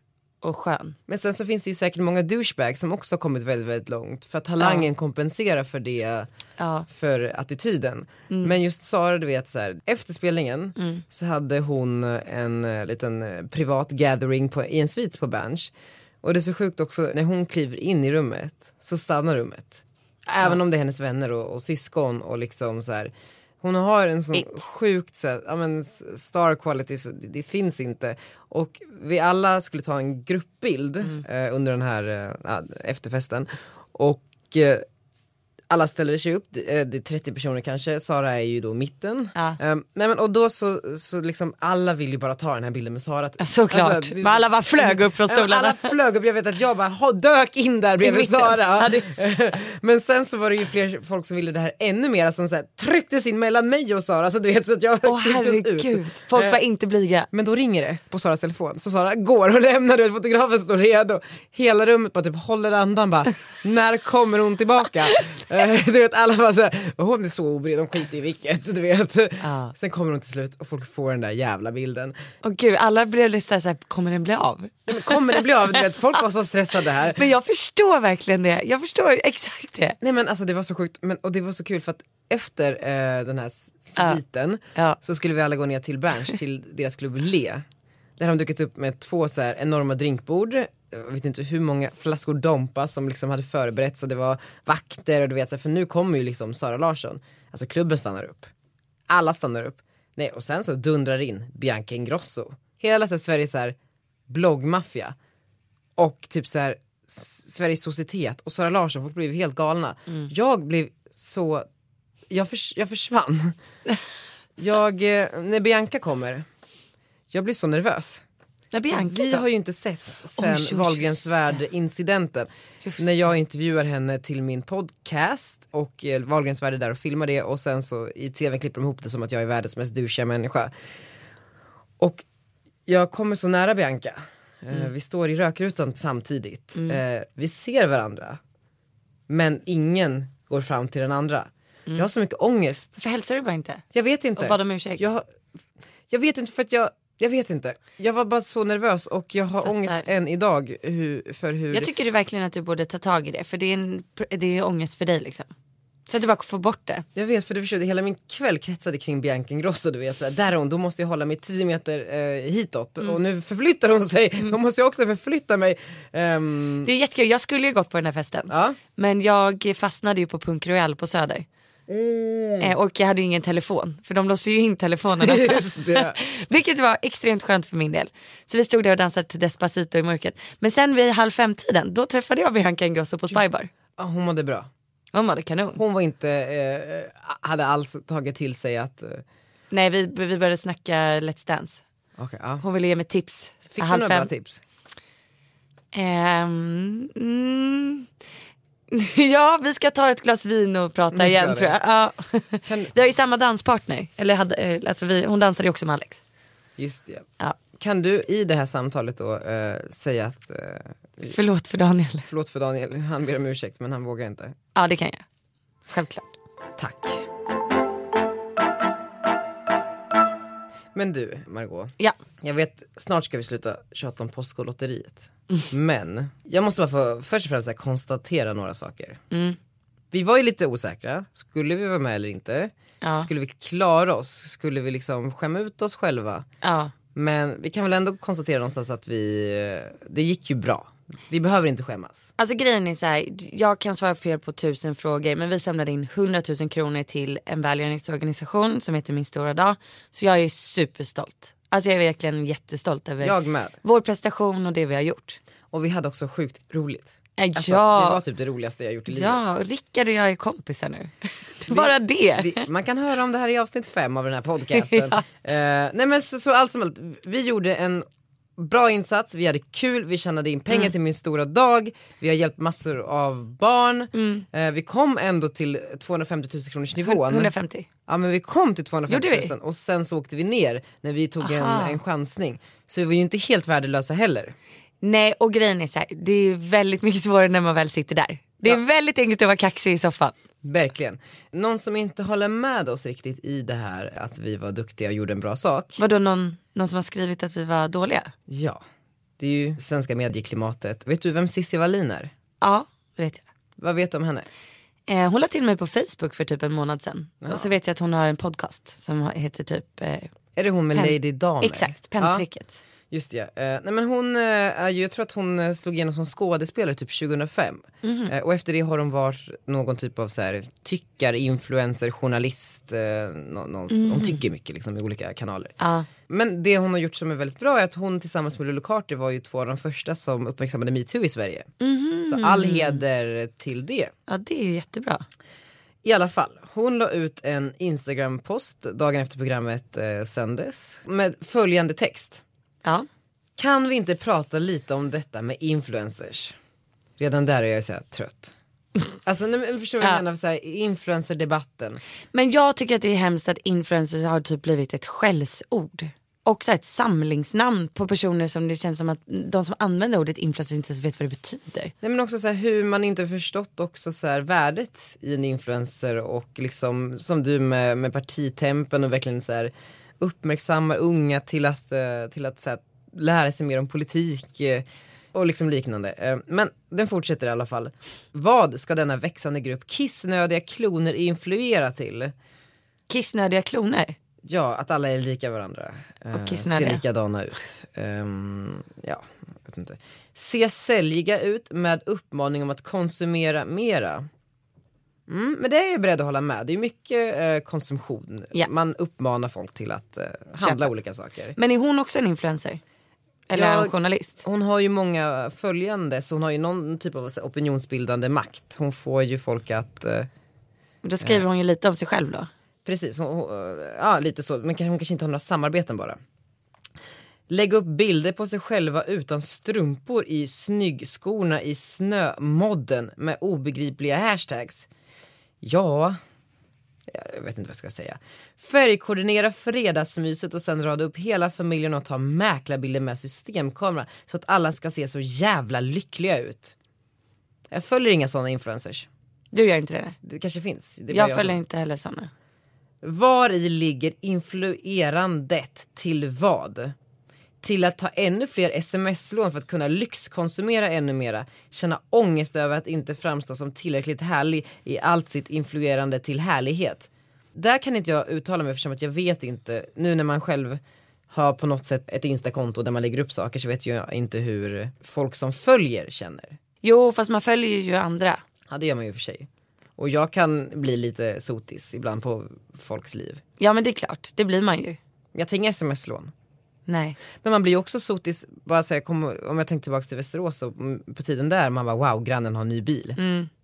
[SPEAKER 2] och skön.
[SPEAKER 1] Men sen så finns det ju säkert många douchebags som också har kommit väldigt, väldigt långt. För att talangen kompenserar för det,
[SPEAKER 2] Ja. Mm.
[SPEAKER 1] för attityden. Men just Sara, du vet så här, efter spelningen så hade hon en eh, liten eh, privat gathering på, i en svit på Berns. Och det är så sjukt också, när hon kliver in i rummet så stannar rummet. Även om det är hennes vänner och, och syskon och liksom så här. Hon har en sån
[SPEAKER 2] It.
[SPEAKER 1] sjukt så här, ja, men s- star quality, så det, det finns inte. Och vi alla skulle ta en gruppbild
[SPEAKER 2] Mm.
[SPEAKER 1] eh, under den här eh, ja, efterfesten. Och eh, alla ställde sig upp, det eh, det är 30 personer kanske, Sara är ju då mitten.
[SPEAKER 2] Ja.
[SPEAKER 1] Ehm, nej men och då så, så liksom alla vill ju bara ta den här bilden med Sara.
[SPEAKER 2] Ja, såklart. Men alla bara flög upp från
[SPEAKER 1] Alltså, Ja, men
[SPEAKER 2] stolarna.
[SPEAKER 1] Alla flög upp, jag vet att jag bara "Ha, dök in där
[SPEAKER 2] I
[SPEAKER 1] bredvid
[SPEAKER 2] mitten.
[SPEAKER 1] Sara.
[SPEAKER 2] Ja, det-
[SPEAKER 1] Men sen så var det ju fler folk som ville det här ännu mer, som så här, trycktes in mellan mig och Sara så du vet så att jag
[SPEAKER 2] Åh
[SPEAKER 1] trycktes ut.
[SPEAKER 2] herregud, folk var
[SPEAKER 1] Eh.
[SPEAKER 2] inte blyga.
[SPEAKER 1] Men då ringer det på Saras telefon, så Sara går och lämnar du vet, fotografen står redo. Hela rummet bara typ håller andan bara, när kommer hon tillbaka? Eh, du vet alla bara såhär, hon är så obrydd, de skiter i vilket, du vet.
[SPEAKER 2] Ja.
[SPEAKER 1] Sen kommer hon till slut och folk får den där jävla bilden.
[SPEAKER 2] Och gud, alla blev lite såhär, såhär, kommer den bli av?
[SPEAKER 1] Men kommer det bli av? Du vet, folk var så stressade här.
[SPEAKER 2] Men jag förstår verkligen det, jag förstår exakt det.
[SPEAKER 1] Nej men alltså det var så sjukt, men, och det var så kul för att efter eh, den här s-
[SPEAKER 2] Ja.
[SPEAKER 1] sviten
[SPEAKER 2] Ja.
[SPEAKER 1] så skulle vi alla gå ner till Berns, till deras klubb Le. Där har de dukat upp med två så här enorma drinkbord, jag vet inte hur många flaskor Dompa som liksom hade förberetts och det var vakter och du vet så här, för nu kommer ju liksom Sara Larsson. Alltså klubben stannar upp, alla stannar upp. Nej och sen så dundrar in Bianca Ingrosso. Hela så här, Sveriges så här, bloggmaffia och typ så här S- Sveriges societet och Sara Larsson, folk blev helt galna. Jag blev så, jag, förs- jag försvann. jag, eh, när Bianca kommer, jag blir så nervös.
[SPEAKER 2] När Bianca
[SPEAKER 1] Vi
[SPEAKER 2] då?
[SPEAKER 1] har ju inte setts sen
[SPEAKER 2] Oj, oj,
[SPEAKER 1] Wahlgrens
[SPEAKER 2] just det.
[SPEAKER 1] värld-incidenten. När jag intervjuar henne till min podcast och eh, Wahlgrens värld är där och filmar det och sen så i tv klipper de ihop det som att jag är världens mest douchiga människa. Och jag kommer så nära Bianca. Eh,
[SPEAKER 2] Mm.
[SPEAKER 1] Vi står i rökrutan samtidigt. Eh, vi ser varandra. Men ingen går fram till den andra.
[SPEAKER 2] Mm.
[SPEAKER 1] Jag har så mycket ångest.
[SPEAKER 2] Varför hälsar du bara inte?
[SPEAKER 1] Jag vet inte.
[SPEAKER 2] Och bad om ursäkt.
[SPEAKER 1] Jag, jag vet inte för att jag, jag vet inte. Jag var bara så nervös och jag har
[SPEAKER 2] Fattar.
[SPEAKER 1] ångest än idag hur, för hur.
[SPEAKER 2] Jag tycker du verkligen att du borde ta tag i det för det är, en, det är ångest för dig liksom. Så att du bara får bort det.
[SPEAKER 1] Jag vet för du förstår, hela min kväll kretsade kring Bianca Ingrosso du vet såhär, där är hon, då måste jag hålla mig 10 meter eh, hitåt
[SPEAKER 2] Mm.
[SPEAKER 1] och nu förflyttar hon sig, då måste jag också förflytta mig. Ehm,
[SPEAKER 2] Det är jättekul, jag skulle ju gått på den här festen.
[SPEAKER 1] ja.
[SPEAKER 2] Men jag fastnade ju på Punk Royal på Söder.
[SPEAKER 1] Mm.
[SPEAKER 2] Eh, och jag hade ju ingen telefon för de låser ju in telefonerna.
[SPEAKER 1] Just det.
[SPEAKER 2] Vilket var extremt skönt för min del. Så vi stod där och dansade till Despacito i mörkret. Men sen vid halv fem-tiden, då träffade jag Bianca Ingrosso på Spybar.
[SPEAKER 1] Ja, hon mådde bra.
[SPEAKER 2] Hon mådde kanon.
[SPEAKER 1] Hon var inte, eh, hade alls tagit till sig att, eh,
[SPEAKER 2] Nej vi, vi började snacka Let's Dance.
[SPEAKER 1] okej, ja.
[SPEAKER 2] Hon ville ge mig tips.
[SPEAKER 1] Fick du
[SPEAKER 2] Halv
[SPEAKER 1] några
[SPEAKER 2] fem.
[SPEAKER 1] bra tips?
[SPEAKER 2] Ehm, mm. ja, vi ska ta ett glas vin och prata
[SPEAKER 1] ska
[SPEAKER 2] igen
[SPEAKER 1] det.
[SPEAKER 2] tror jag. Ja.
[SPEAKER 1] Kan-
[SPEAKER 2] Vi har ju samma danspartner. Eller hade, eh, alltså vi, hon dansade ju också med Alex.
[SPEAKER 1] Just det.
[SPEAKER 2] Ja.
[SPEAKER 1] Kan du i det här samtalet då eh, säga att, eh,
[SPEAKER 2] Förlåt för Daniel.
[SPEAKER 1] förlåt för Daniel, han ber om ursäkt men han vågar inte.
[SPEAKER 2] Ja, det kan jag. Självklart.
[SPEAKER 1] Tack. Men du, Margot.
[SPEAKER 2] Ja.
[SPEAKER 1] Jag vet, snart ska vi sluta tjata om Postkodlotteriet. Men jag måste bara få först och främst så här, konstatera några saker. Vi var ju lite osäkra, skulle vi vara med eller inte?
[SPEAKER 2] Ja.
[SPEAKER 1] Skulle vi klara oss? Skulle vi liksom skämma ut oss själva?
[SPEAKER 2] Ja.
[SPEAKER 1] Men vi kan väl ändå konstatera någonstans att vi, eh, det gick ju bra. Vi behöver inte skämmas.
[SPEAKER 2] Alltså grejen är så här, jag kan svara fel på tusen frågor men vi samlade in 100 000 kronor till en välgörenhetsorganisation som heter Min stora dag. Så jag är superstolt. Alltså jag är verkligen jättestolt över
[SPEAKER 1] Jag med.
[SPEAKER 2] vår prestation och det vi har gjort. Eh,
[SPEAKER 1] Och vi hade också sjukt roligt.
[SPEAKER 2] Ja.
[SPEAKER 1] Alltså, Det var typ det roligaste jag gjort i livet.
[SPEAKER 2] Ja, och Rickard och jag är kompisar nu. Bara det.
[SPEAKER 1] Vi- Man kan höra om det här i avsnitt fem av den här podcasten. Eh, nej men så, så allt som allt, vi gjorde en bra insats, vi hade kul, vi tjänade in pengar
[SPEAKER 2] Mm.
[SPEAKER 1] till min stora dag, vi har hjälpt massor av barn.
[SPEAKER 2] Mm.
[SPEAKER 1] Eh, vi kom ändå till 250 000 kronors nivån.
[SPEAKER 2] 150.
[SPEAKER 1] Ja men vi kom till
[SPEAKER 2] Gjorde
[SPEAKER 1] 250
[SPEAKER 2] vi?
[SPEAKER 1] 000 och sen så åkte vi ner när vi tog en,
[SPEAKER 2] Aha.
[SPEAKER 1] en chansning. Så vi var ju inte helt värdelösa heller.
[SPEAKER 2] Nej och grejen är så här, det är väldigt mycket svårare när man väl sitter där. Det är väldigt enkelt att vara kaxig i soffan.
[SPEAKER 1] Verkligen. Någon som inte håller med oss riktigt i det här att vi var duktiga och gjorde en bra sak.
[SPEAKER 2] Vadå någon, någon som har skrivit att vi var dåliga?
[SPEAKER 1] Ja, det är ju svenska medieklimatet. Vet du vem Cissi Wallin är?
[SPEAKER 2] Ja, det vet jag.
[SPEAKER 1] Vad vet du om henne?
[SPEAKER 2] Eh, hon la till mig på Facebook för typ en månad sedan. Och så vet jag att hon har en podcast som har- heter typ eh,
[SPEAKER 1] Är det hon med
[SPEAKER 2] Pen-
[SPEAKER 1] Lady Damer?
[SPEAKER 2] Exakt, pentricket.
[SPEAKER 1] Ja. Just det, ja. Eh, nej men hon, eh, är ju, jag tror att hon eh, slog igenom som skådespelare typ 2005.
[SPEAKER 2] Mhm.
[SPEAKER 1] Eh, och efter det har hon varit någon typ av så här, tyckare, influencer, journalist. Eh, nå- någon, Hon tycker mycket liksom i olika kanaler.
[SPEAKER 2] Mm. Ja.
[SPEAKER 1] Men det hon har gjort som är väldigt bra är att hon tillsammans med Lulu Carter var ju två av de första som uppmärksammade metoo i Sverige.
[SPEAKER 2] Mhm.
[SPEAKER 1] Så all heder till det.
[SPEAKER 2] ja, det är ju jättebra.
[SPEAKER 1] I alla fall, hon la ut en Instagram-post dagen efter programmet eh, sändes med följande text.
[SPEAKER 2] Ja.
[SPEAKER 1] Kan vi inte prata lite om detta med influencers? Redan där är jag så här trött. Alltså nej, men förstår du vad jag
[SPEAKER 2] Ja.
[SPEAKER 1] menar? Så här, Influencerdebatten.
[SPEAKER 2] Men jag tycker att det är hemskt att influencers har typ blivit ett skällsord. Och så här ett samlingsnamn på personer som det känns som att de som använder ordet influencers inte ens vet vad det betyder.
[SPEAKER 1] Nej men också så här, hur man inte förstått också så här, värdet i en influencer och liksom som du med, med partitempen och verkligen så här, uppmärksamma unga till att, eh, till att så här, lära sig mer om politik eh, och liksom liknande. Eh, Men den fortsätter i alla fall. Vad ska denna växande grupp kissnödiga kloner influera till?
[SPEAKER 2] Kissnödiga kloner.
[SPEAKER 1] Ja, att alla är lika varandra. eh,
[SPEAKER 2] kissnödiga.
[SPEAKER 1] ser likadana ut. Ehm, ja, jag vet inte. Se säljiga ut med uppmaning om att konsumera mera. Mm, men det är jag beredd att hålla med. Det är mycket eh, konsumtion.
[SPEAKER 2] Ja.
[SPEAKER 1] Man uppmanar folk till att eh, handla olika saker.
[SPEAKER 2] Men är hon också en influencer? Eller är
[SPEAKER 1] Jag-
[SPEAKER 2] hon journalist?
[SPEAKER 1] Hon har ju många följande så hon har ju någon typ av så här opinionsbildande makt. Hon får ju folk att eh,
[SPEAKER 2] Då skriver hon ju lite om sig själv då.
[SPEAKER 1] Precis, hon, hon, ja lite så, men kanske- hon kanske inte har några samarbeten bara. Lägg upp bilder på sig själva utan strumpor i snyggskorna i snömodden med obegripliga hashtags. Ja, jag vet inte vad jag ska säga. Färgkoordinera fredagsmyset och sen rada upp hela familjen och ta mäklarbilder med systemkamera så att alla ska se så jävla lyckliga ut. Jag följer inga sådana influencers.
[SPEAKER 2] Du gör inte det?
[SPEAKER 1] Det kanske finns. Det är bara
[SPEAKER 2] Jag
[SPEAKER 1] som-
[SPEAKER 2] följer inte heller sådana.
[SPEAKER 1] var i ligger influerandet till vad? Till att ta ännu fler sms-lån för att kunna lyxkonsumera ännu mera. Känna ångest över att inte framstå som tillräckligt härlig i allt sitt influerande till härlighet. Där kan inte jag uttala mig eftersom att jag vet inte, nu när man själv har på något sätt ett instakonto där man lägger upp saker så vet jag inte hur folk som följer känner.
[SPEAKER 2] Jo fast man följer ju andra.
[SPEAKER 1] Ja det gör man ju i och för sig. Och jag kan bli lite sotis ibland på folks liv.
[SPEAKER 2] Ja men det är klart, det blir man ju.
[SPEAKER 1] Jag tänker sms-lån.
[SPEAKER 2] Nej.
[SPEAKER 1] Men man blir ju också sotis, bara så här, kom, om jag tänker tillbaka till Västerås och mm, på tiden där, man bara wow grannen har ny bil.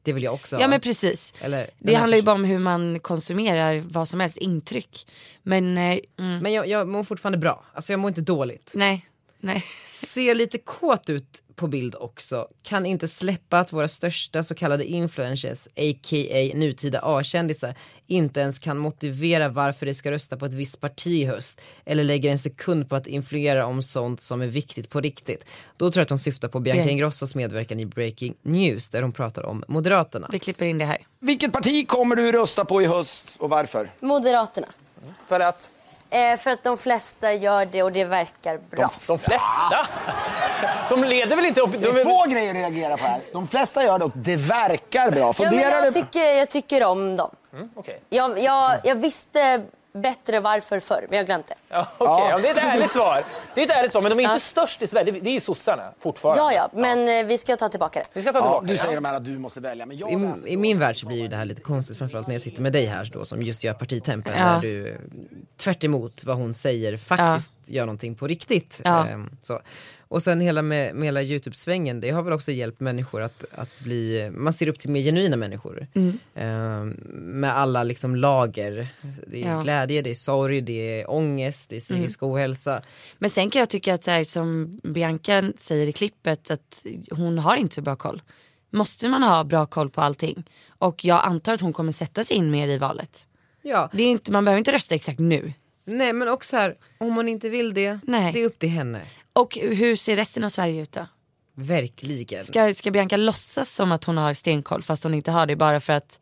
[SPEAKER 1] Det vill jag också
[SPEAKER 2] Mm. Ja
[SPEAKER 1] ha.
[SPEAKER 2] men precis.
[SPEAKER 1] Eller, den
[SPEAKER 2] Det
[SPEAKER 1] här
[SPEAKER 2] handlar ju
[SPEAKER 1] personen.
[SPEAKER 2] bara om hur man konsumerar vad som helst, intryck. Men eh, mm,
[SPEAKER 1] Men jag, jag mår fortfarande bra, alltså jag mår inte dåligt.
[SPEAKER 2] nej, nej.
[SPEAKER 1] Ser lite kåt ut på bild också, kan inte släppa att våra största så kallade influencers, a.k.a. nutida A-kändisar, inte ens kan motivera varför de ska rösta på ett visst parti i höst, eller lägger en sekund på att influera om sånt som är viktigt på riktigt. Då tror jag att hon syftar på Bianca
[SPEAKER 2] Bianca.
[SPEAKER 1] Ingrossos medverkan i Breaking News, där hon pratar om Moderaterna.
[SPEAKER 2] Vi klipper in det här.
[SPEAKER 7] Vilket parti kommer du rösta på i höst och varför?
[SPEAKER 3] Moderaterna.
[SPEAKER 7] För att?
[SPEAKER 3] för att de flesta gör det och det verkar bra.
[SPEAKER 8] De flesta? De leder väl inte...
[SPEAKER 7] Det är två grejer att reagera på här. De flesta gör det och det verkar bra.
[SPEAKER 3] Ja, men
[SPEAKER 7] Funderar
[SPEAKER 3] jag,
[SPEAKER 7] du?
[SPEAKER 3] tycker, jag tycker om dem.
[SPEAKER 8] Okej,
[SPEAKER 3] Jag, jag, jag visste bättre varför förr, men jag har glömt det.
[SPEAKER 8] ja, okej. ja, det är ett ärligt svar. Det är ett ärligt svar, men de är inte störst i Sverige. Det är- Det är ju sossarna fortfarande.
[SPEAKER 3] Ja, ja, men eh, vi ska ta tillbaka det.
[SPEAKER 8] Vi ska ta
[SPEAKER 7] Ja,
[SPEAKER 8] tillbaka
[SPEAKER 7] du
[SPEAKER 8] det.
[SPEAKER 7] säger de här att du måste välja, men jag läser
[SPEAKER 1] I, I min värld så blir ju det här lite konstigt, framförallt när jag sitter med dig här då, som just gör partitempen.
[SPEAKER 2] Ja.
[SPEAKER 1] Där du eh, tvärt emot vad hon säger faktiskt gör någonting på riktigt.
[SPEAKER 2] Ja.
[SPEAKER 1] Ehm, så. Och sen hela med, med hela YouTube-svängen, det har väl också hjälpt människor att, att bli, man ser upp till mer genuina människor.
[SPEAKER 3] Mm.
[SPEAKER 1] Ehm, med alla liksom lager, det är
[SPEAKER 2] Ja. Mm.
[SPEAKER 1] glädje, det är sorg, det är ångest, det är psykisk ohälsa.
[SPEAKER 2] Men sen kan jag tycka att så här, som Bianca säger i klippet att hon har inte så bra koll. Måste man ha bra koll på allting? Och jag antar att hon kommer sätta sig in mer i valet.
[SPEAKER 1] Ja.
[SPEAKER 2] Det är inte, man behöver inte rösta exakt nu.
[SPEAKER 1] Nej men också här, om hon inte vill det,
[SPEAKER 2] Nej.
[SPEAKER 1] det är upp till henne.
[SPEAKER 2] Och hur ser resten av Sverige ut då?
[SPEAKER 1] Verkligen.
[SPEAKER 2] Ska, ska Bianca låtsas som att hon har stenkoll fast hon inte har det bara för att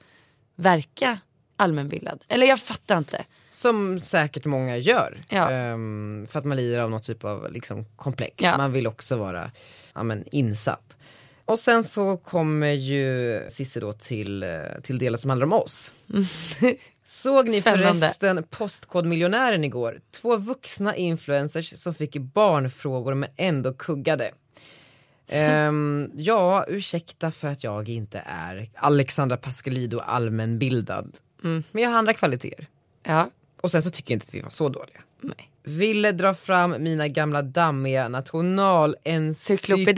[SPEAKER 2] verka allmänbildad? Eller jag fattar inte.
[SPEAKER 1] Som säkert många gör.
[SPEAKER 2] Ja.
[SPEAKER 1] Ehm, för att man lider av något typ av liksom, komplex.
[SPEAKER 2] Ja.
[SPEAKER 1] Man vill också vara ja, men, insatt. Och sen så kommer ju Cissi då till, eh, till delen som handlar om oss. Såg ni
[SPEAKER 2] Mm. Spännande.
[SPEAKER 1] förresten Postkodmiljonären igår? Två vuxna influencers som fick barnfrågor men ändå kuggade. Ehm, ja, ursäkta för att jag inte är Alexandra Pascalido allmänbildad.
[SPEAKER 2] Mm.
[SPEAKER 1] Men jag har andra kvaliteter.
[SPEAKER 2] Ja.
[SPEAKER 1] Och sen så tycker jag inte att vi var så dåliga. Ville dra fram mina gamla dammiga
[SPEAKER 2] Cyklopedi.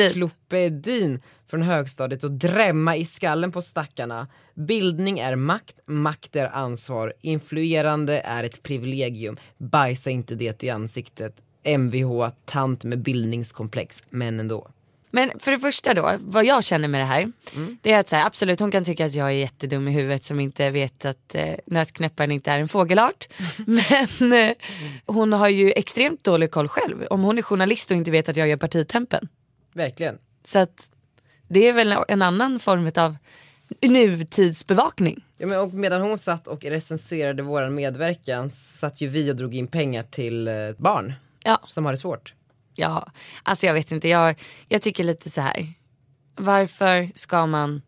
[SPEAKER 1] nationalencyklopedin från högstadiet och drämma i skallen på stackarna. Bildning är makt, makt är ansvar, influerande är ett privilegium, bajsa inte det i ansiktet. Mvh, tant med bildningskomplex, men ändå.
[SPEAKER 2] Men för det första då, vad jag känner med det här. Det är att så här, absolut hon kan tycka att jag är jättedum i huvudet som inte vet att eh, nötknäpparen inte är en fågelart. Men eh, hon har ju extremt dålig koll själv. Om hon är journalist och inte vet att jag gör partitempen.
[SPEAKER 1] Verkligen.
[SPEAKER 2] Så att det är väl en annan form av nutidsbevakning.
[SPEAKER 1] Ja, men och medan hon satt och recenserade våran medverkan satt ju vi och drog in pengar till eh, barn
[SPEAKER 2] Ja.
[SPEAKER 1] som har det svårt.
[SPEAKER 2] Ja, alltså jag vet inte. Jag, jag tycker lite så här. Varför ska man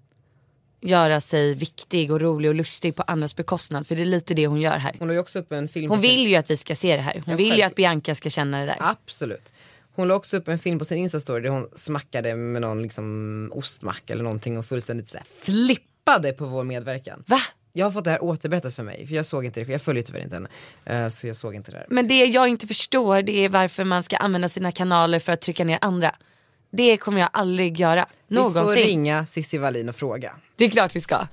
[SPEAKER 2] göra sig viktig och rolig och lustig på andras bekostnad? För det är lite det hon gör här.
[SPEAKER 1] Hon la ju också upp en film
[SPEAKER 2] Hon
[SPEAKER 1] på sin-
[SPEAKER 2] vill ju att vi ska se det här. Hon vill ju
[SPEAKER 1] självklart.
[SPEAKER 2] att Bianca ska känna det där.
[SPEAKER 1] Absolut. Hon la också upp en film på sin Insta-story där hon smackade med någon liksom ostmacka eller någonting och fullständigt såhär flippade på vår medverkan.
[SPEAKER 2] Va?
[SPEAKER 1] Jag har fått det här återberättat för mig, för jag såg inte det, jag följer tyvärr inte henne. Eh, Så jag såg inte det här.
[SPEAKER 2] Men det jag inte förstår det är varför man ska använda sina kanaler för att trycka ner andra. Det kommer jag aldrig göra.
[SPEAKER 1] Vi
[SPEAKER 2] Någonsin.
[SPEAKER 1] får ringa Cissi Wallin och fråga.
[SPEAKER 2] Det är klart vi ska.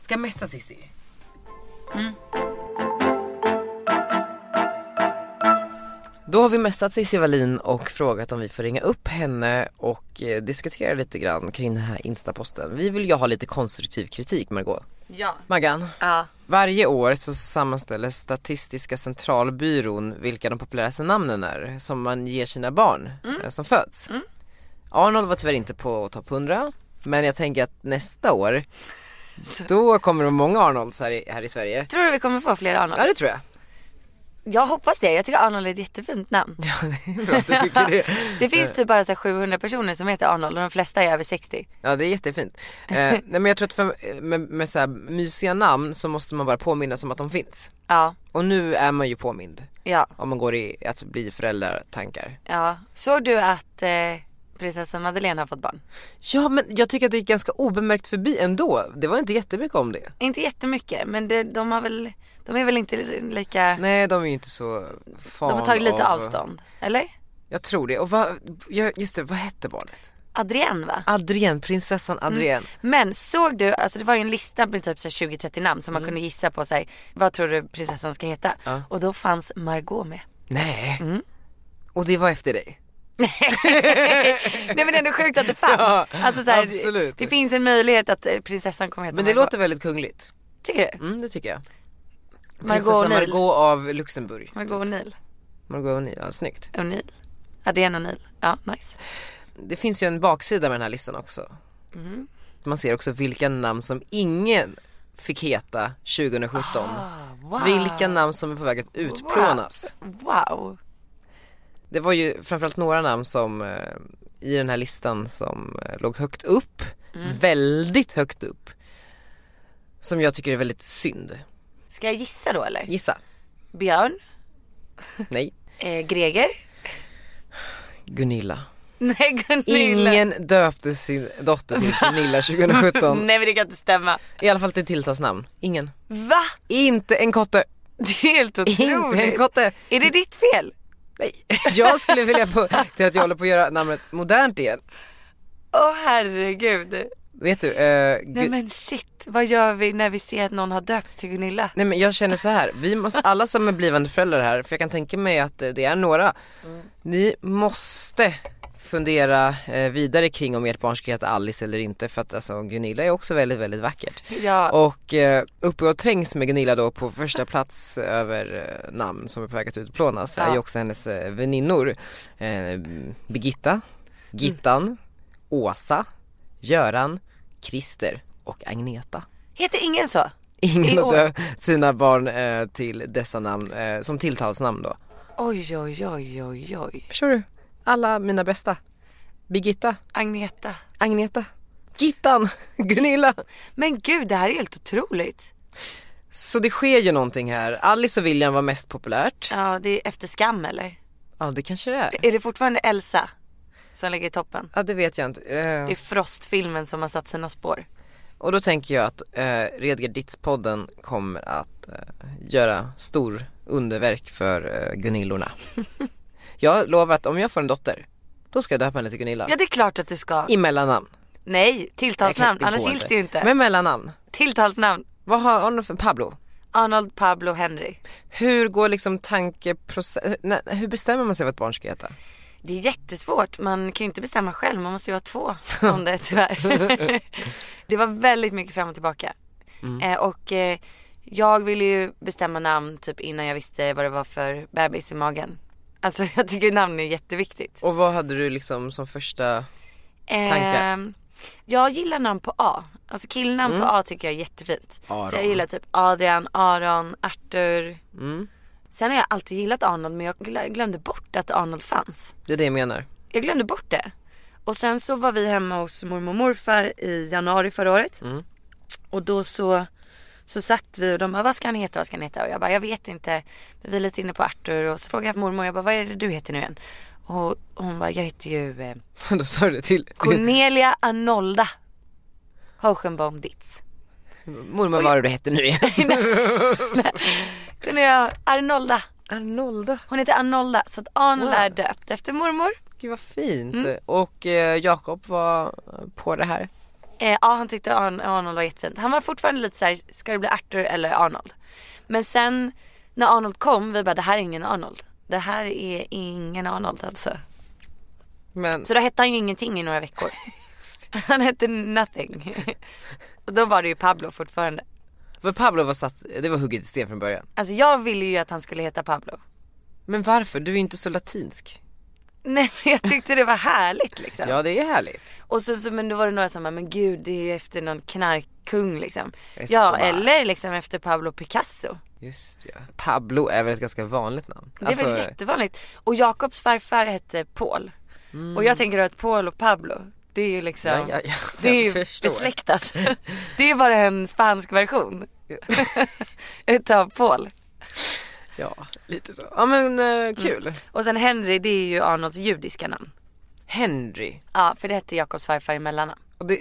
[SPEAKER 1] Ska jag messa Cissi? Mm. Då har vi messat Cissi Wallin och frågat om vi får ringa upp henne och eh, diskutera lite grann kring den här instaposten. Vi vill ju ha lite konstruktiv kritik Margot.
[SPEAKER 2] Ja.
[SPEAKER 1] Maggan,
[SPEAKER 2] Ja.
[SPEAKER 1] varje år så sammanställer Statistiska centralbyrån vilka de populäraste namnen är som man ger sina barn
[SPEAKER 2] Mm.
[SPEAKER 1] eh, som föds. Arnold var tyvärr inte på topp 100 men jag tänker att nästa år då kommer det många Arnolds här i, här i Sverige.
[SPEAKER 2] Tror du vi kommer få fler Arnold?
[SPEAKER 1] Ja det tror jag.
[SPEAKER 2] Jag hoppas det. Jag tycker Arnold är ett jättefint namn.
[SPEAKER 1] Ja, det är bra att du tycker det.
[SPEAKER 2] Det finns typ bara så här 700 personer som heter Arnold och de flesta är över 60.
[SPEAKER 1] Ja det är jättefint. Eh, nej men jag tror att för, med, med så här mysiga namn så måste man bara påminna sig om att de finns.
[SPEAKER 2] Ja,
[SPEAKER 1] Och nu är man ju påmind.
[SPEAKER 2] ja,
[SPEAKER 1] Om man går i att bli föräldratankar.
[SPEAKER 2] ja. Såg du att eh, prinsessan Madeleine har fått barn?
[SPEAKER 1] Ja men jag tycker att det gick ganska obemärkt förbi ändå. Det var inte jättemycket om det.
[SPEAKER 2] Inte jättemycket men det, de har väl, de är väl inte lika,
[SPEAKER 1] Nej de är ju inte så fan
[SPEAKER 2] de har tagit lite
[SPEAKER 1] av-
[SPEAKER 2] avstånd. Eller?
[SPEAKER 1] Jag tror det. Och vad, ja, just det, vad hette barnet? Mm.
[SPEAKER 2] Adrienne va?
[SPEAKER 1] Adrienne, prinsessan Adrienne.
[SPEAKER 2] Men såg du, alltså det var ju en lista med typ så här 20-30 namn
[SPEAKER 1] Mm.
[SPEAKER 2] som man kunde gissa på så här, vad tror du prinsessan ska heta? Och då fanns Margot med.
[SPEAKER 1] Nej. Och det var efter dig.
[SPEAKER 2] Nej men det är ändå sjukt att det fanns.
[SPEAKER 1] Ja,
[SPEAKER 2] alltså så här,
[SPEAKER 1] absolut.
[SPEAKER 2] Det finns en möjlighet att eh, prinsessan kommer heta
[SPEAKER 1] Men det
[SPEAKER 2] Margot.
[SPEAKER 1] låter väldigt kungligt.
[SPEAKER 2] Tycker du?
[SPEAKER 1] Mm det tycker jag.
[SPEAKER 2] Margot
[SPEAKER 1] Prinsessan
[SPEAKER 2] O'Neill.
[SPEAKER 1] Margot av Luxemburg.
[SPEAKER 2] Margot O'Neill.
[SPEAKER 1] Margot O'Neill, ja snyggt.
[SPEAKER 2] O'Neill. Ja det är en O'Neill. Ja nice.
[SPEAKER 1] Det finns ju en baksida med den här listan också.
[SPEAKER 2] Mhm.
[SPEAKER 1] Man ser också vilka namn som ingen fick heta 2017.
[SPEAKER 2] Ah,
[SPEAKER 1] Vilka namn som är på väg att utplånas.
[SPEAKER 2] Wow.
[SPEAKER 1] Det var ju framförallt några namn som eh, i den här listan som eh, låg högt upp,
[SPEAKER 2] Mm.
[SPEAKER 1] väldigt högt upp. Som jag tycker är väldigt synd.
[SPEAKER 2] Ska jag gissa då eller?
[SPEAKER 1] Gissa.
[SPEAKER 2] Björn.
[SPEAKER 1] Nej.
[SPEAKER 2] Eh, Greger.
[SPEAKER 1] Gunilla.
[SPEAKER 2] Nej Gunilla.
[SPEAKER 1] Ingen döpte sin dotter till Gunilla 2017.
[SPEAKER 2] Nej men det kan inte stämma.
[SPEAKER 1] I alla fall till tilltalsnamn. Ingen.
[SPEAKER 2] Va?
[SPEAKER 1] Inte en kotte.
[SPEAKER 2] Det är helt
[SPEAKER 1] Inte en
[SPEAKER 2] otroligt.
[SPEAKER 1] kotte.
[SPEAKER 2] Är det ditt fel?
[SPEAKER 1] Nej, jag skulle vilja på, till att jag håller på att göra namnet modernt igen.
[SPEAKER 2] Åh herregud.
[SPEAKER 1] Vet du, eh, Gu-
[SPEAKER 2] Nej men shit, vad gör vi när vi ser att någon har döpts till Gunilla?
[SPEAKER 1] nej men jag känner så här, vi måste, alla som är blivande föräldrar här, för jag kan tänka mig att eh, det är några, ni måste fundera eh, vidare kring om ert barn ska heta Alice eller inte för att alltså Gunilla är också väldigt, väldigt vackert.
[SPEAKER 2] Ja.
[SPEAKER 1] Och eh, uppe och trängs med Gunilla då på första plats över eh, namn som är på väg att utplånas är ju också hennes eh, väninnor. Eh, Birgitta, Gittan, Åsa, Göran, Christer och Agneta.
[SPEAKER 2] Heter ingen så? I
[SPEAKER 1] Ingen
[SPEAKER 2] år-
[SPEAKER 1] av de- sina barn eh, till dessa namn eh, som tilltalsnamn då.
[SPEAKER 2] Oj oj oj oj oj.
[SPEAKER 1] Förstår du? Alla mina bästa. Birgitta,
[SPEAKER 2] Agneta.
[SPEAKER 1] Agneta, Gittan, Gunilla.
[SPEAKER 2] Men gud det här är helt otroligt.
[SPEAKER 1] Så det sker ju någonting här. Alice och William var mest populärt.
[SPEAKER 2] Ja, det är efter skam eller?
[SPEAKER 1] Ja, det kanske det är.
[SPEAKER 2] Är det fortfarande Elsa som ligger i toppen?
[SPEAKER 1] Ja, det vet jag inte. Eh,
[SPEAKER 2] Det är Frost-filmen som har satt sina spår.
[SPEAKER 1] Och då tänker jag att eh, Redgerd Ditz-podden kommer att eh, göra stor underverk för eh, Gunillorna. jag lovar att om jag får en dotter, då ska jag döpa henne till Gunilla.
[SPEAKER 2] Ja, det är klart att du ska.
[SPEAKER 1] I mellannamn.
[SPEAKER 2] Nej,
[SPEAKER 1] Jag kan
[SPEAKER 2] tilltalsnamn.
[SPEAKER 1] inte
[SPEAKER 2] Annars
[SPEAKER 1] gå
[SPEAKER 2] gills
[SPEAKER 1] det.
[SPEAKER 2] det ju inte.
[SPEAKER 1] Men mellannamn.
[SPEAKER 2] Tilltalsnamn.
[SPEAKER 1] Vad har hon för Pablo?
[SPEAKER 2] Arnold Pablo Henry.
[SPEAKER 1] Hur går liksom tankeprocessen, nej, hur bestämmer man sig vad ett barn ska heta?
[SPEAKER 2] Det är jättesvårt. Man kan ju inte bestämma själv. Man måste ju ha två om det tyvärr. det var väldigt mycket fram och tillbaka.
[SPEAKER 1] Mm.
[SPEAKER 2] Eh, och eh, jag ville ju bestämma namn typ innan jag visste vad det var för bebis i magen. Alltså jag tycker namn är jätteviktigt.
[SPEAKER 1] Och vad hade du liksom som första tankar?
[SPEAKER 2] Ehm, jag gillar namn på A. Alltså killnamn
[SPEAKER 1] Mm.
[SPEAKER 2] på A tycker jag är jättefint. Så jag
[SPEAKER 1] Aron.
[SPEAKER 2] gillar typ Adrian, Aron, Arthur.
[SPEAKER 1] Mm.
[SPEAKER 2] Sen har jag alltid gillat Arnold men jag glö- glömde bort att Arnold fanns.
[SPEAKER 1] Det är det jag menar.
[SPEAKER 2] Jag glömde bort det. Och sen så var vi hemma hos mormor och morfar i januari förra året.
[SPEAKER 1] Mm.
[SPEAKER 2] Och då så, så satt vi och de bara, vad ska han heta, vad ska han heta? Och jag bara, jag vet inte. Men Vi är lite inne på Arthur och så frågade jag mormor, jag bara, vad är det du heter nu igen? Och hon bara, jag heter ju eh,
[SPEAKER 1] då sa du det till
[SPEAKER 2] Cornelia Arnolda Hohenbaum Ditz.
[SPEAKER 1] mormor vad var det du hette nu igen?
[SPEAKER 2] Kunde jag Arnolda.
[SPEAKER 1] Arnolda.
[SPEAKER 2] Hon heter Arnolda så att Arnold
[SPEAKER 1] Wow.
[SPEAKER 2] är döpt efter mormor.
[SPEAKER 1] Gud vad fint.
[SPEAKER 2] Mm.
[SPEAKER 1] Och eh, Jakob var på det här.
[SPEAKER 2] Eh, ja han tyckte Arn- Arnold var jättefint. Han var fortfarande lite såhär, ska det bli Arthur eller Arnold? Men sen när Arnold kom, vi bara det här är ingen Arnold. Det här är ingen Arnold alltså.
[SPEAKER 1] Men
[SPEAKER 2] Så då hette han ju ingenting i några veckor. han hette nothing. Och då var det ju Pablo fortfarande.
[SPEAKER 1] för Pablo var satt, det var hugget i sten från början.
[SPEAKER 2] Alltså jag ville ju att han skulle heta Pablo.
[SPEAKER 1] Men varför? Du är inte så latinsk.
[SPEAKER 2] Nej men jag tyckte det var härligt liksom.
[SPEAKER 1] Ja det är härligt.
[SPEAKER 2] Och så, så men då var det några som bara, men gud det är ju efter någon knarkkung liksom. Ja
[SPEAKER 1] Escobar.
[SPEAKER 2] eller liksom efter Pablo Picasso.
[SPEAKER 1] Just ja. Pablo är väl ett ganska vanligt namn. Alltså,
[SPEAKER 2] Det är väl jättevanligt. Och Jakobs farfar hette Paul.
[SPEAKER 1] Mm.
[SPEAKER 2] Och jag tänker att Paul och Pablo, det är ju liksom,
[SPEAKER 1] Ja, ja, ja,
[SPEAKER 2] det är ju
[SPEAKER 1] jag förstår.
[SPEAKER 2] besläktat. det är bara en spansk version. Utav Paul.
[SPEAKER 1] Ja lite så. Ja men eh, kul.
[SPEAKER 2] Och sen Henry det är ju Arnolds judiska namn.
[SPEAKER 1] Henry.
[SPEAKER 2] Ja för det hette Jakobs farfar i mellannamn.
[SPEAKER 1] Och det,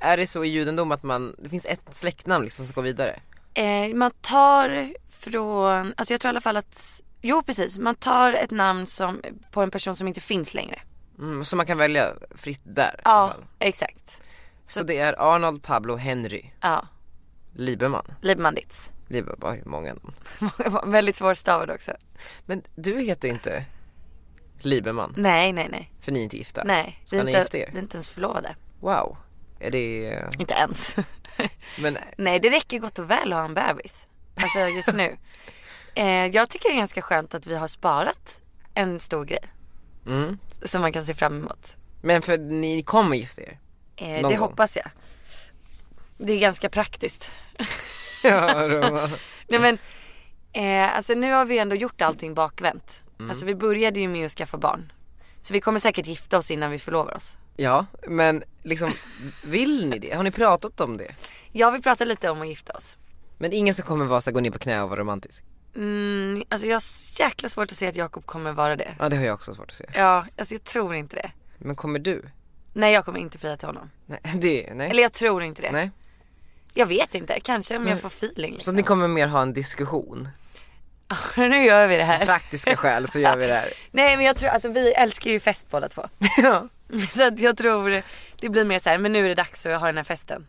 [SPEAKER 1] är det så i judendom att man, det finns ett släktnamn liksom som går vidare?
[SPEAKER 2] Eh, man tar från, alltså jag tror i alla fall att, jo precis, man tar ett namn som, på en person som inte finns längre.
[SPEAKER 1] Mm, så man kan välja fritt där? i alla
[SPEAKER 2] Ja,
[SPEAKER 1] fall.
[SPEAKER 2] exakt.
[SPEAKER 1] Så det är Arnold, Pablo, Henry,
[SPEAKER 2] Ja,
[SPEAKER 1] Lieberman.
[SPEAKER 2] Libmandits.
[SPEAKER 1] Lieberman, vad är många namn.
[SPEAKER 2] Väldigt svårstavad också.
[SPEAKER 1] Men du heter inte Lieberman,
[SPEAKER 2] Nej, nej, nej.
[SPEAKER 1] för ni är inte gifta?
[SPEAKER 2] Nej, vi
[SPEAKER 1] Ska
[SPEAKER 2] är,
[SPEAKER 1] ni
[SPEAKER 2] inte,
[SPEAKER 1] gifta
[SPEAKER 2] vi
[SPEAKER 1] er?
[SPEAKER 2] är inte ens förlovade.
[SPEAKER 1] Wow. Är det... eh,
[SPEAKER 2] Inte ens.
[SPEAKER 1] Men
[SPEAKER 2] nej, det räcker gott och väl att ha en bebis. Alltså just nu. Eh, jag tycker det är ganska skönt att vi har sparat en stor grej
[SPEAKER 1] Mm.
[SPEAKER 2] som man kan se fram emot.
[SPEAKER 1] Men för ni kommer gifta er?
[SPEAKER 2] Eh, det
[SPEAKER 1] Någon gång.
[SPEAKER 2] hoppas jag. Det är ganska praktiskt.
[SPEAKER 1] Ja, Roma.
[SPEAKER 2] Nej men, eh, alltså nu har vi ändå gjort allting bakvänt.
[SPEAKER 1] Mm.
[SPEAKER 2] Alltså vi började ju med att skaffa barn. Så vi kommer säkert gifta oss innan vi förlovar oss.
[SPEAKER 1] ja, men liksom vill ni det? Har ni pratat om det?
[SPEAKER 2] Jag vill prata lite om att gifta oss.
[SPEAKER 1] Men ingen som kommer vara så här, gå ner på knä och vara romantisk?
[SPEAKER 2] Mm, alltså jag har så jäkla svårt att se att Jakob kommer vara det.
[SPEAKER 1] Ja, det har jag också svårt att se.
[SPEAKER 2] Ja, alltså jag tror inte det.
[SPEAKER 1] Men kommer du?
[SPEAKER 2] Nej jag kommer inte fria till honom.
[SPEAKER 1] Nej, det, nej.
[SPEAKER 2] Eller jag tror inte det.
[SPEAKER 1] nej.
[SPEAKER 2] Jag vet inte, kanske om
[SPEAKER 1] Nej.
[SPEAKER 2] jag får feeling
[SPEAKER 1] Så
[SPEAKER 2] liksom.
[SPEAKER 1] ni kommer mer ha en diskussion?
[SPEAKER 2] Nu gör vi det här.
[SPEAKER 1] Praktiska skäl så gör vi det här.
[SPEAKER 2] Nej men jag tror, alltså vi älskar ju fest båda två.
[SPEAKER 1] Ja.
[SPEAKER 2] Så att jag tror det blir mer så här, men nu är det dags att ha den här festen.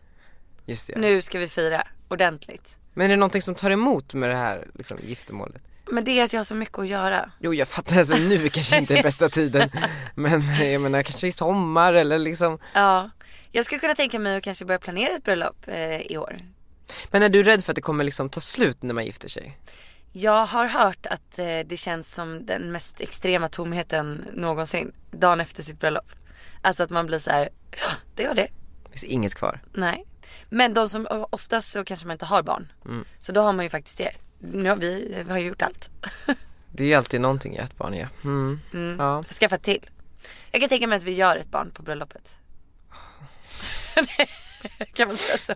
[SPEAKER 1] Just det. ja.
[SPEAKER 2] Nu ska vi fira ordentligt.
[SPEAKER 1] Men är det någonting som tar emot med det här liksom, giftermålet?
[SPEAKER 2] Men det är att jag har så mycket att göra.
[SPEAKER 1] Jo jag fattar, alltså nu kanske inte är bästa tiden. Men jag menar kanske i sommar eller liksom.
[SPEAKER 2] Ja, jag skulle kunna tänka mig att kanske börja planera ett bröllop eh, i år.
[SPEAKER 1] Men är du rädd för att det kommer liksom ta slut när man gifter sig?
[SPEAKER 2] Jag har hört att eh, det känns som den mest extrema tomheten någonsin dagen efter sitt bröllop. Alltså att man blir så här, "Ja, det var det.
[SPEAKER 1] Det finns inget kvar.
[SPEAKER 2] Nej. Men de som, oftast så kanske man inte har barn.
[SPEAKER 1] Mm.
[SPEAKER 2] Så då har man ju faktiskt det. Nu har vi, vi har ju gjort allt.
[SPEAKER 1] Det är ju alltid någonting i ett barn ja. Mm.
[SPEAKER 2] Mm.
[SPEAKER 1] Ja.
[SPEAKER 2] Skaffa till. Jag kan tänka mig att vi gör ett barn på bröllopet. kan man säga så?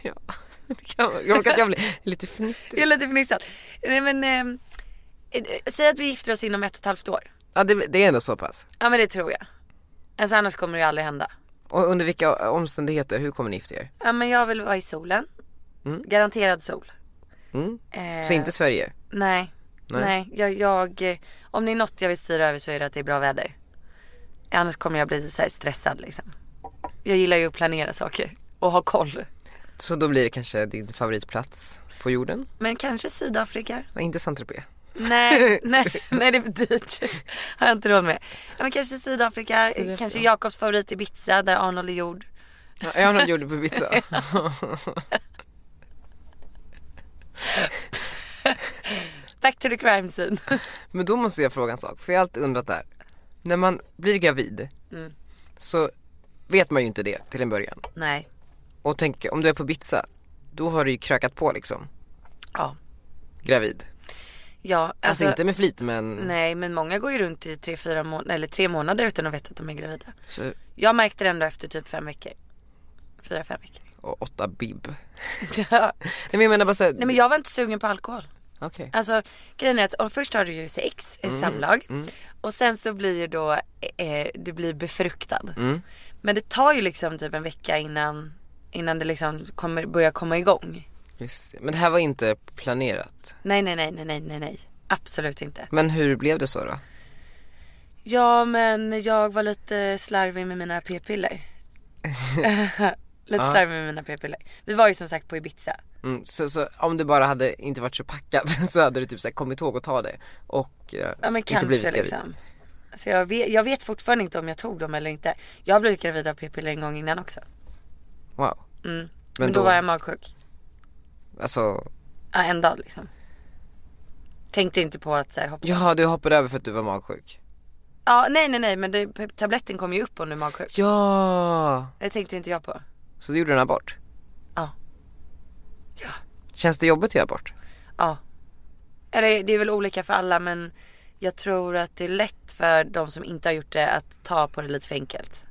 [SPEAKER 1] Ja.
[SPEAKER 2] Det kan vara- Jag orkar att jag blir lite fnittrad. Jag är lite fnittrad. Nej men, ehm, eh, säg att vi gifter oss inom ett och ett halvt år.
[SPEAKER 1] Ja, det, det är ändå så pass.
[SPEAKER 2] Ja men det tror jag. Alltså annars kommer det ju aldrig hända.
[SPEAKER 1] Och under vilka omständigheter, hur kommer ni gifta er?
[SPEAKER 2] Ja men jag vill vara i solen.
[SPEAKER 1] Mm.
[SPEAKER 2] Garanterad sol.
[SPEAKER 1] Mm.
[SPEAKER 2] Eh,
[SPEAKER 1] Så inte Sverige?
[SPEAKER 2] Nej.
[SPEAKER 1] Nej.
[SPEAKER 2] Nej, jag, jag, eh, om det är något jag vill styra över så är det att det är bra väder. Annars kommer jag bli så här stressad liksom. Jag gillar ju att planera saker och ha koll.
[SPEAKER 1] Så då blir det kanske din favoritplats på jorden?
[SPEAKER 2] Men kanske Sydafrika.
[SPEAKER 1] Nej, inte Saint-Tropez.
[SPEAKER 2] Nej, nej, nej det är för dyrt. Har jag inte råd med. Ja, men kanske Sydafrika,
[SPEAKER 1] Sydafrika.
[SPEAKER 2] kanske Jakobs favorit Ibiza där Arnold är gjord.
[SPEAKER 1] Ja, jag har någon gjorde på pizza.
[SPEAKER 2] Back to the crime scene.
[SPEAKER 1] Men då måste jag fråga en sak, för jag har alltid undrat där. När man blir gravid
[SPEAKER 2] Mm.
[SPEAKER 1] så vet man ju inte det till en början.
[SPEAKER 2] Nej,
[SPEAKER 1] Och tänk, om du är på Ibiza, då har du ju krökat på liksom.
[SPEAKER 2] Ja.
[SPEAKER 1] Gravid.
[SPEAKER 2] ja. Alltså,
[SPEAKER 1] Alltså, inte med flit men
[SPEAKER 2] Nej men många går ju runt i tre, fyra må- eller tre månader utan att veta att de är gravida.
[SPEAKER 1] så,
[SPEAKER 2] Jag märkte det ändå efter typ fem veckor. Fyra, fem veckor.
[SPEAKER 1] och åtta bib.
[SPEAKER 2] Ja.
[SPEAKER 1] Nej men jag menar bara såhär,
[SPEAKER 2] Nej men jag var inte sugen på alkohol.
[SPEAKER 1] okej.
[SPEAKER 2] Alltså grejen är att och först har du ju sex, mm.
[SPEAKER 1] Mm,
[SPEAKER 2] samlag.
[SPEAKER 1] mm.
[SPEAKER 2] Och sen så blir ju då, eh, du blir befruktad.
[SPEAKER 1] Mm.
[SPEAKER 2] Men det tar ju liksom typ en vecka innan, innan det liksom kommer, börjar komma igång.
[SPEAKER 1] Just det. Men det här var inte planerat.
[SPEAKER 2] Nej, nej, nej, nej, nej, nej, nej. Absolut inte.
[SPEAKER 1] Men hur blev det så då?
[SPEAKER 2] Ja, men jag var lite slarvig med mina p-piller. lite
[SPEAKER 1] Ja.
[SPEAKER 2] slarvig med mina p-piller. Vi var ju som sagt på Ibiza.
[SPEAKER 1] Mm, så, så om du bara hade inte varit så packad så hade du typ såhär kommit ihåg att ta det och eh,
[SPEAKER 2] Ja, men
[SPEAKER 1] inte
[SPEAKER 2] kanske
[SPEAKER 1] blivit gravid.
[SPEAKER 2] liksom. Så jag vet, jag vet fortfarande inte om jag tog dem eller inte. Jag blev gravid av p-piller en gång innan också.
[SPEAKER 1] Wow.
[SPEAKER 2] Mm. Men,
[SPEAKER 1] Men
[SPEAKER 2] då,
[SPEAKER 1] då-
[SPEAKER 2] var jag magsjuk.
[SPEAKER 1] Alltså,
[SPEAKER 2] Ja, en dag liksom. Tänkte inte på att så här, hoppa.
[SPEAKER 1] ja du hoppade över för att du var magsjuk.
[SPEAKER 2] Ja, nej, nej, nej, men det, tabletten kom ju upp om du är magsjuk.
[SPEAKER 1] Ja!
[SPEAKER 2] Det tänkte inte jag på.
[SPEAKER 1] Så du gjorde en abort?
[SPEAKER 2] Ja.
[SPEAKER 1] Känns det jobbigt att göra abort?
[SPEAKER 2] Ja. Eller det är väl olika för alla men jag tror att det är lätt för de som inte har gjort det att ta på det lite för enkelt.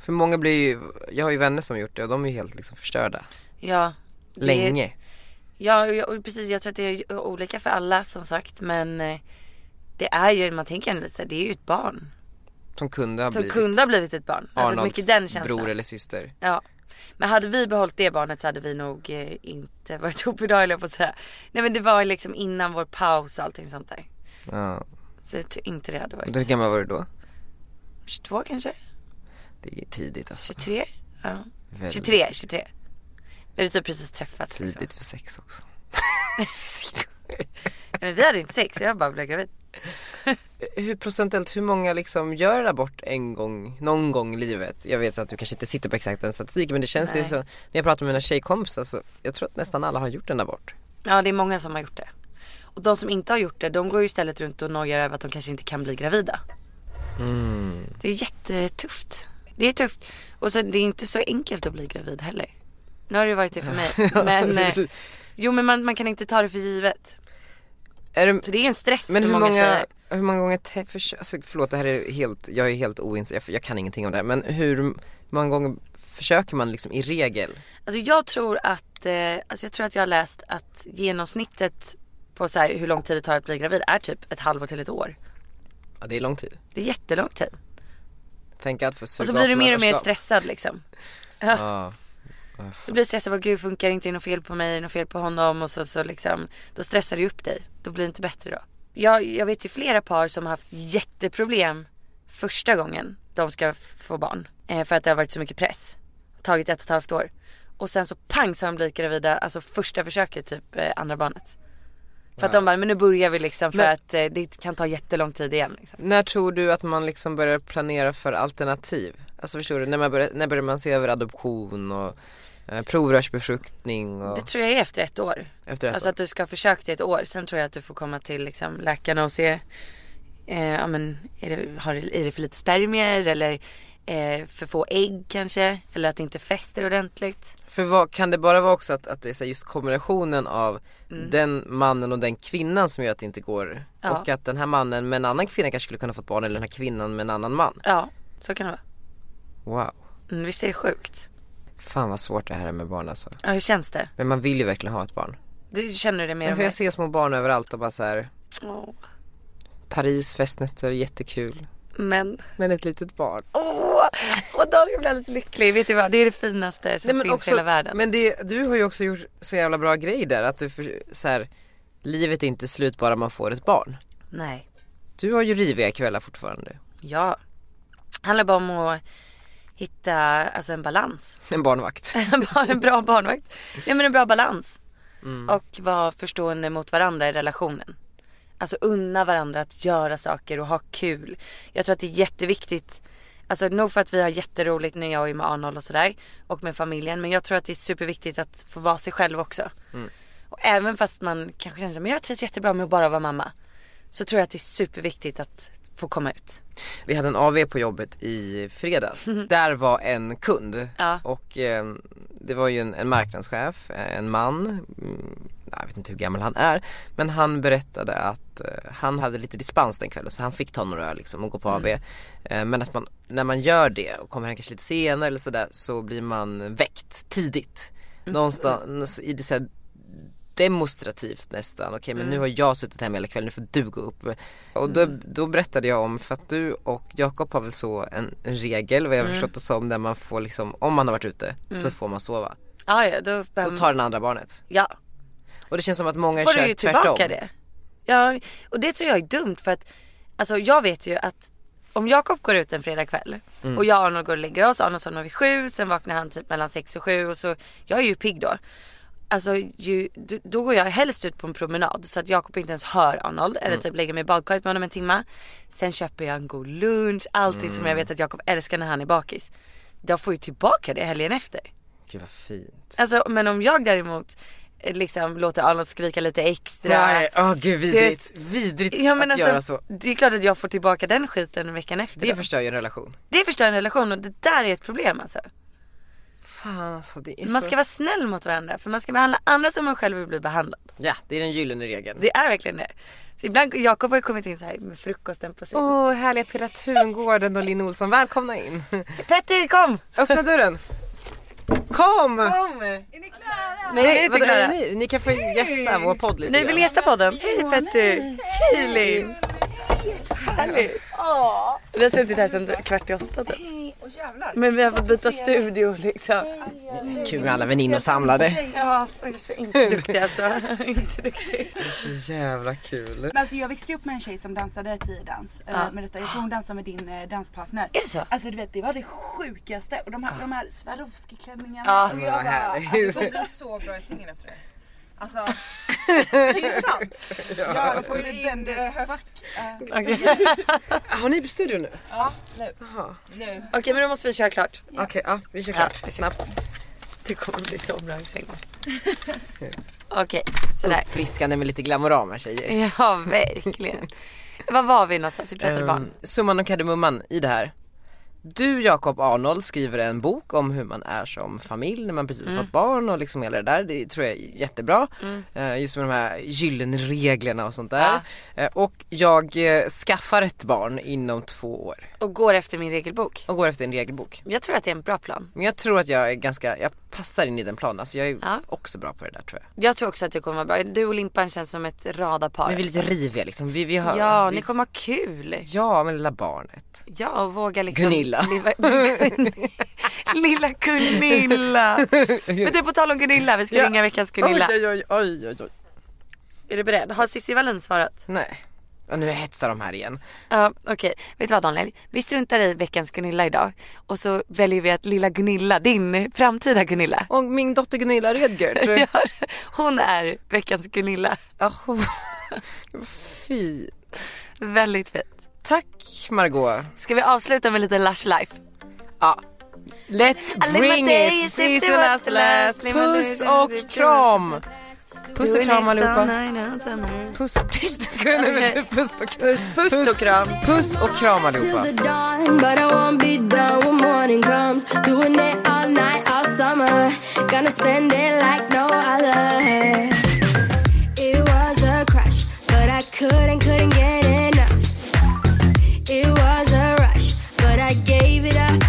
[SPEAKER 1] För många blir ju, jag har ju vänner som har gjort det och de är ju helt liksom förstörda.
[SPEAKER 2] Ja. det-
[SPEAKER 1] Länge.
[SPEAKER 2] Ja, och jag- och precis. Jag tror att det är olika för alla som sagt men eh, det är ju, man tänker ändå lite så här, det är ju ett barn.
[SPEAKER 1] Som kunde ha
[SPEAKER 2] Som
[SPEAKER 1] blivit
[SPEAKER 2] kunde ha blivit ett barn. Alltså
[SPEAKER 1] Arnolds
[SPEAKER 2] mycket den känslan.
[SPEAKER 1] bror eller syster.
[SPEAKER 2] Ja. Men hade vi behållit det barnet så hade vi nog eh, inte varit ihop idag höll jag på att säga. Nej men det var ju liksom innan vår paus och allting sånt där.
[SPEAKER 1] Ja.
[SPEAKER 2] Så jag tror inte det hade varit.
[SPEAKER 1] Du, hur gammal var du då?
[SPEAKER 2] 22 kanske?
[SPEAKER 1] Det är tidigt alltså.
[SPEAKER 2] 23? Ja.
[SPEAKER 1] Väldigt
[SPEAKER 2] 23, 23. Vi hade typ precis träffats liksom.
[SPEAKER 1] Tidigt för sex också.
[SPEAKER 2] Men vi hade inte sex, jag bara blev gravid.
[SPEAKER 1] Hur procentuellt, hur många liksom gör abort en gång, någon gång i livet? Jag vet att du kanske inte sitter på exakt den statistiken men det känns ju
[SPEAKER 2] Nej.
[SPEAKER 1] så. När jag pratar med mina tjejkompisar så, jag tror att nästan alla har gjort en abort.
[SPEAKER 2] Ja, det är många som har gjort det. Och de som inte har gjort det, de går ju istället runt och nojar över att de kanske inte kan bli gravida.
[SPEAKER 1] Mm.
[SPEAKER 2] Det är jättetufft. Det är tufft. Och så det är inte så enkelt att bli gravid heller. Nu har det ju varit det för mig. Men, eh,
[SPEAKER 1] precis.
[SPEAKER 2] jo men man, man kan inte ta det för givet.
[SPEAKER 1] Är det,
[SPEAKER 2] Typ Så det är en stress
[SPEAKER 1] Men
[SPEAKER 2] för
[SPEAKER 1] hur
[SPEAKER 2] många,
[SPEAKER 1] många,
[SPEAKER 2] tjejer.
[SPEAKER 1] hur många gånger, te- försö- alltså, förlåt det här är helt, jag är helt oinsatt, jag, jag kan ingenting om det här men hur många gånger försöker man liksom i regel?
[SPEAKER 2] Alltså jag tror att, eh, alltså jag tror att jag har läst att genomsnittet på så här, hur lång tid det tar att bli gravid är typ ett halvår till ett år.
[SPEAKER 1] Ja det är lång tid.
[SPEAKER 2] Det är jättelång tid.
[SPEAKER 1] Tänk att få
[SPEAKER 2] Och så blir du mer och mer stressad liksom.
[SPEAKER 1] Ja.
[SPEAKER 2] Du blir stressad, bara, gud funkar inte, är det något fel på mig, är det något fel på honom och så, så liksom, då stressar det upp dig. Då blir det inte bättre då. Jag, jag vet ju flera par som har haft jätteproblem första gången de ska f- få barn. Eh, för att det har varit så mycket press. Tagit ett och ett halvt år. Och sen så pang så har de blivit gravida, alltså första försöket typ eh, andra barnet. För att de bara, men nu börjar vi liksom för
[SPEAKER 1] Men-
[SPEAKER 2] att eh, det kan ta jättelång tid igen. Liksom.
[SPEAKER 1] När tror du att man liksom börjar planera för alternativ? Alltså förstår du, när, man börjar, när börjar man se över adoption och eh, provrörsbefruktning och
[SPEAKER 2] Det tror jag är efter ett år.
[SPEAKER 1] efter ett
[SPEAKER 2] Alltså
[SPEAKER 1] år?
[SPEAKER 2] att du ska ha försökt i ett år. Sen tror jag att du får komma till liksom läkarna och se. Eh, ja men är det, har det, är det för lite spermier eller eh, för få ägg kanske? Eller att det inte fäster ordentligt.
[SPEAKER 1] För vad, kan det bara vara också att, att det är så här just kombinationen av den mannen och den kvinnan som gör att det inte går
[SPEAKER 2] Ja.
[SPEAKER 1] och att den här mannen med en annan kvinna kanske skulle kunna fått barn eller den här kvinnan med en annan man.
[SPEAKER 2] Ja, så kan det vara.
[SPEAKER 1] Wow.
[SPEAKER 2] Mm, visst är det sjukt?
[SPEAKER 1] Fan vad svårt det här är med barn alltså.
[SPEAKER 2] Ja, hur känns det?
[SPEAKER 1] Men man vill ju verkligen ha ett barn.
[SPEAKER 2] Du känner det mer
[SPEAKER 1] Alltså,
[SPEAKER 2] och
[SPEAKER 1] jag ser små barn överallt och bara så här,
[SPEAKER 2] mer? Åh,
[SPEAKER 1] Paris, festnätter, jättekul.
[SPEAKER 2] Men.
[SPEAKER 1] Men ett litet barn.
[SPEAKER 2] Åh, och då blir jag alldeles lycklig. Vet du vad, det är det finaste som
[SPEAKER 1] Nej, men
[SPEAKER 2] finns
[SPEAKER 1] också-
[SPEAKER 2] i hela världen.
[SPEAKER 1] Men det, du har ju också gjort så jävla bra grej där att du för, så här, livet är inte slut bara man får ett barn.
[SPEAKER 2] Nej,
[SPEAKER 1] Du har ju riviga kvällar fortfarande.
[SPEAKER 2] ja. Handlar bara om att hitta alltså, en balans.
[SPEAKER 1] En barnvakt.
[SPEAKER 2] Bara en bra barnvakt. Nej men en bra balans.
[SPEAKER 1] Mm.
[SPEAKER 2] Och vara förstående mot varandra i relationen. Alltså unna varandra att göra saker och ha kul. Jag tror att det är jätteviktigt. Alltså nog för att vi har jätteroligt när jag är med Arnold och sådär. Och med familjen. Men jag tror att det är superviktigt att få vara sig själv också.
[SPEAKER 1] Mm.
[SPEAKER 2] Och även fast man kanske känner att jag trivs jättebra med att bara vara mamma. Så tror jag att det är superviktigt att få komma ut.
[SPEAKER 1] Vi hade en AV på jobbet i fredags. Där var en kund
[SPEAKER 2] Ja.
[SPEAKER 1] och eh, det var ju en, en marknadschef, eh, en man. Mm, Jag vet inte hur gammal han är. Men han berättade att eh, han hade lite dispens den kvällen så han fick ta några öl liksom och gå på AV. Eh, men att man, när man gör det och kommer hem kanske lite senare eller sådär så blir man väckt tidigt. Någonstans i det så här demonstrativt nästan. Okej men
[SPEAKER 9] Mm.
[SPEAKER 1] nu har jag suttit hemma hela kvällen, nu får du gå upp. Och då, då berättade jag om, för att du och Jakob har väl så en, en regel vad jag har
[SPEAKER 2] Mm.
[SPEAKER 1] förstått det som där man får liksom, om man har varit ute så
[SPEAKER 2] Mm.
[SPEAKER 1] får man sova.
[SPEAKER 2] Ja, ja då
[SPEAKER 1] Då
[SPEAKER 2] behöver
[SPEAKER 1] tar den andra barnet.
[SPEAKER 2] Ja.
[SPEAKER 1] Och det känns som att många
[SPEAKER 2] får
[SPEAKER 1] kör
[SPEAKER 2] du ju
[SPEAKER 1] tvärtom.
[SPEAKER 2] tillbaka det. Ja, och det tror jag är dumt för att alltså jag vet ju att om Jakob går ut en fredagkväll
[SPEAKER 10] Mm.
[SPEAKER 2] och jag och Arnold går och lägger oss, Arnold somnar vid sju, sen vaknar han typ mellan sex och sju och så, jag är ju pigg då. Alltså ju, då- då går jag helst ut på en promenad så att Jakob inte ens hör Arnold eller
[SPEAKER 10] Mm.
[SPEAKER 2] typ lägger mig i badkaret med honom en timma. Sen köper jag en god lunch, allting som
[SPEAKER 10] Mm.
[SPEAKER 2] jag vet att Jakob älskar när han är bakis. Jag får ju tillbaka det helgen efter.
[SPEAKER 1] Gud vad fint.
[SPEAKER 2] Alltså men om jag däremot eh, liksom låter Arnold skrika lite extra.
[SPEAKER 1] Nej, åh gud vidrigt.
[SPEAKER 2] Du vet-
[SPEAKER 1] vidrigt
[SPEAKER 2] Ja, men
[SPEAKER 1] att
[SPEAKER 2] alltså,
[SPEAKER 1] göra så.
[SPEAKER 2] Det är klart att jag får tillbaka den skiten veckan efter.
[SPEAKER 1] Det
[SPEAKER 2] då.
[SPEAKER 1] förstör ju en relation.
[SPEAKER 2] det förstör en relation och det där är ett problem alltså.
[SPEAKER 1] Fan alltså det är
[SPEAKER 2] Man
[SPEAKER 1] så...
[SPEAKER 2] ska vara snäll mot varandra för man ska behandla andra som man själv vill bli behandlad.
[SPEAKER 1] Ja, det är den gyllene regeln.
[SPEAKER 2] Det är verkligen det. Så ibland, Jakob har ju kommit in så här med frukosten på sig.
[SPEAKER 1] Åh, härliga Pira Tungården och Linn Olsson, välkomna in.
[SPEAKER 2] Petter, kom!
[SPEAKER 1] Öppna dörren. Kom!
[SPEAKER 2] Kom! Är ni klara? Nej, vi är inte
[SPEAKER 1] vadå,
[SPEAKER 2] klara.
[SPEAKER 1] är ni? ni kan få gästa vår podd lite
[SPEAKER 2] Nej, vi
[SPEAKER 1] grann.
[SPEAKER 2] gästar podden. Hej Petter! Hej Linn! Härligt! Vi har suttit här sedan kvart i åtta typ. Men vi har fått byta studio liksom.
[SPEAKER 1] Kul med alla väninnor samlade.
[SPEAKER 2] Ja, så är så inte duktig alltså. inte duktig.
[SPEAKER 1] Så jävla kul.
[SPEAKER 11] Men alltså jag växte upp med en tjej som dansade tiodans.
[SPEAKER 2] Ja.
[SPEAKER 11] Ja. eh, Med detta. Jag tror hon dansade med din eh, danspartner.
[SPEAKER 2] Är det så?
[SPEAKER 11] Alltså du vet det var det sjukaste. Och de här, de här Swarovski-klänningarna.
[SPEAKER 2] Ja.
[SPEAKER 11] och
[SPEAKER 2] Men
[SPEAKER 11] jag
[SPEAKER 2] vad
[SPEAKER 11] bara,
[SPEAKER 2] härligt.
[SPEAKER 11] alltså, det kommer bli så bra i singel efter det. Alltså det är sant.
[SPEAKER 1] Ja.
[SPEAKER 11] Ja, då får vi in det. Fuck. eh.
[SPEAKER 1] Har ni studio nu?
[SPEAKER 11] Ja, nu. nu.
[SPEAKER 2] Okej men då måste vi köra klart.
[SPEAKER 1] Okej, ja, vi kör klart. Snabbt.
[SPEAKER 2] Det kommer bli så bra i sängen. Okej, sådär.
[SPEAKER 1] Uppfriskande med lite glamorama tjejer.
[SPEAKER 2] Ja verkligen. Var var vi någonstans? Vi pratade
[SPEAKER 1] Ehm,
[SPEAKER 2] barn.
[SPEAKER 1] summan och kardemumman i det här. Du Jakob Arnold skriver en bok om hur man är som familj när man precis
[SPEAKER 2] Mm.
[SPEAKER 1] fått barn och liksom hela det där. Det tror jag är jättebra.
[SPEAKER 2] Mm.
[SPEAKER 1] Eh, Just med de här gyllene reglerna och sånt där. Eh, Och jag eh, skaffar ett barn inom två år
[SPEAKER 2] Och går efter min regelbok.
[SPEAKER 1] och går efter en regelbok.
[SPEAKER 2] Jag tror att det är en bra plan.
[SPEAKER 1] Men jag tror att jag är ganska, jag passar in i den planen. Alltså jag är också bra på det där tror jag.
[SPEAKER 2] Jag tror också att det kommer vara bra. Du och Limpan känns som ett radarpar.
[SPEAKER 1] Men vi är lite riviga liksom. Vi, vi har,
[SPEAKER 2] Ja,
[SPEAKER 1] vi,
[SPEAKER 2] ni kommer ha kul.
[SPEAKER 1] Ja, men lilla barnet.
[SPEAKER 2] Ja, och våga liksom.
[SPEAKER 1] Gunilla.
[SPEAKER 2] Lilla, lilla Gunilla. Men du på tal om Gunilla, vi ska
[SPEAKER 1] Ja.
[SPEAKER 2] ringa veckans Gunilla.
[SPEAKER 1] Oj, oj, oj, oj, oj.
[SPEAKER 2] Är du beredd? Har Cissi Wallin svarat?
[SPEAKER 1] Nej. Och nu hetsar de här igen.
[SPEAKER 2] Ja, okej. Vet du vad Daniel? Vi struntar i veckans Gunilla idag och så väljer vi att lilla Gunilla, din framtida Gunilla.
[SPEAKER 1] Och min dotter Gunilla Redgert.
[SPEAKER 2] Ja, hon är veckans Gunilla.
[SPEAKER 1] Ja, hon... Fint.
[SPEAKER 2] Väldigt fint.
[SPEAKER 1] Tack Margot.
[SPEAKER 2] Ska vi avsluta med lite Lush Life?
[SPEAKER 1] Ja. Let's bring it! This will last last. Puss och kram! Puss och kram allihopa. Puss och tyst, nu ska jag nu vänta. Puss och kram. Puss och kram. Puss och kram allihopa.
[SPEAKER 12] till the dawn, but I won't be done when morning comes. Doing it all night, all summer. Gonna spend it like no other. It was a crush, but I couldn't, couldn't get enough. It was a rush, but I gave it up.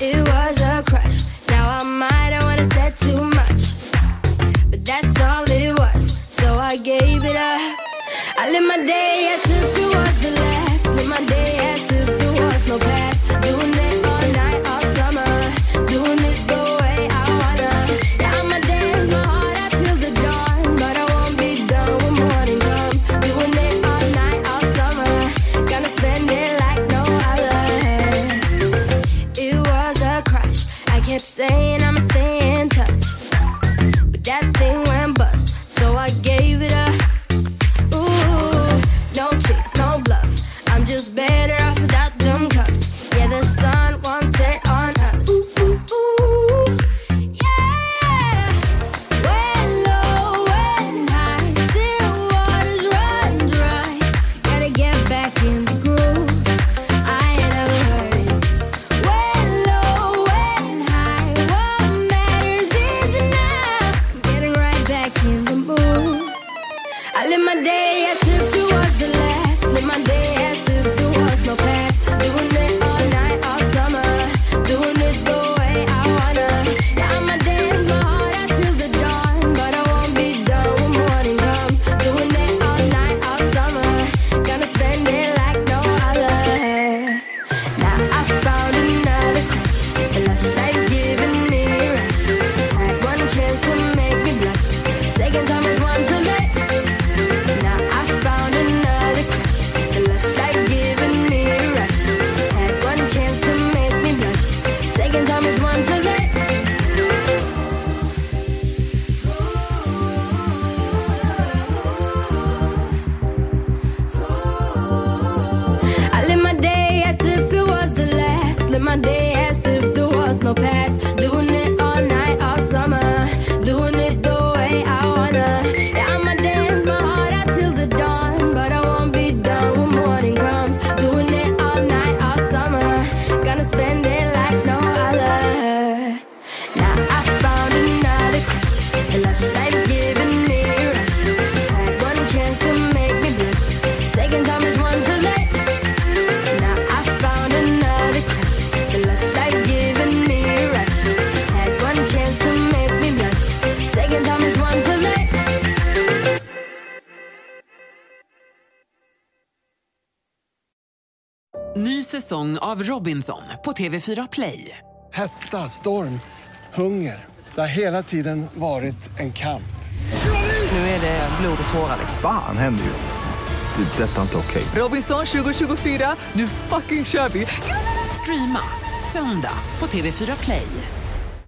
[SPEAKER 12] It was a
[SPEAKER 13] Ny säsong av Robinson på TV4 Play.
[SPEAKER 14] Hetta, storm, hunger. Det har hela tiden varit en kamp.
[SPEAKER 13] Nu är det blod och tårar.
[SPEAKER 15] Fan händer just nu. Det. är Detta är inte okej.
[SPEAKER 13] Robinson 2024, nu fucking kör vi! Streama söndag på TV4 Play.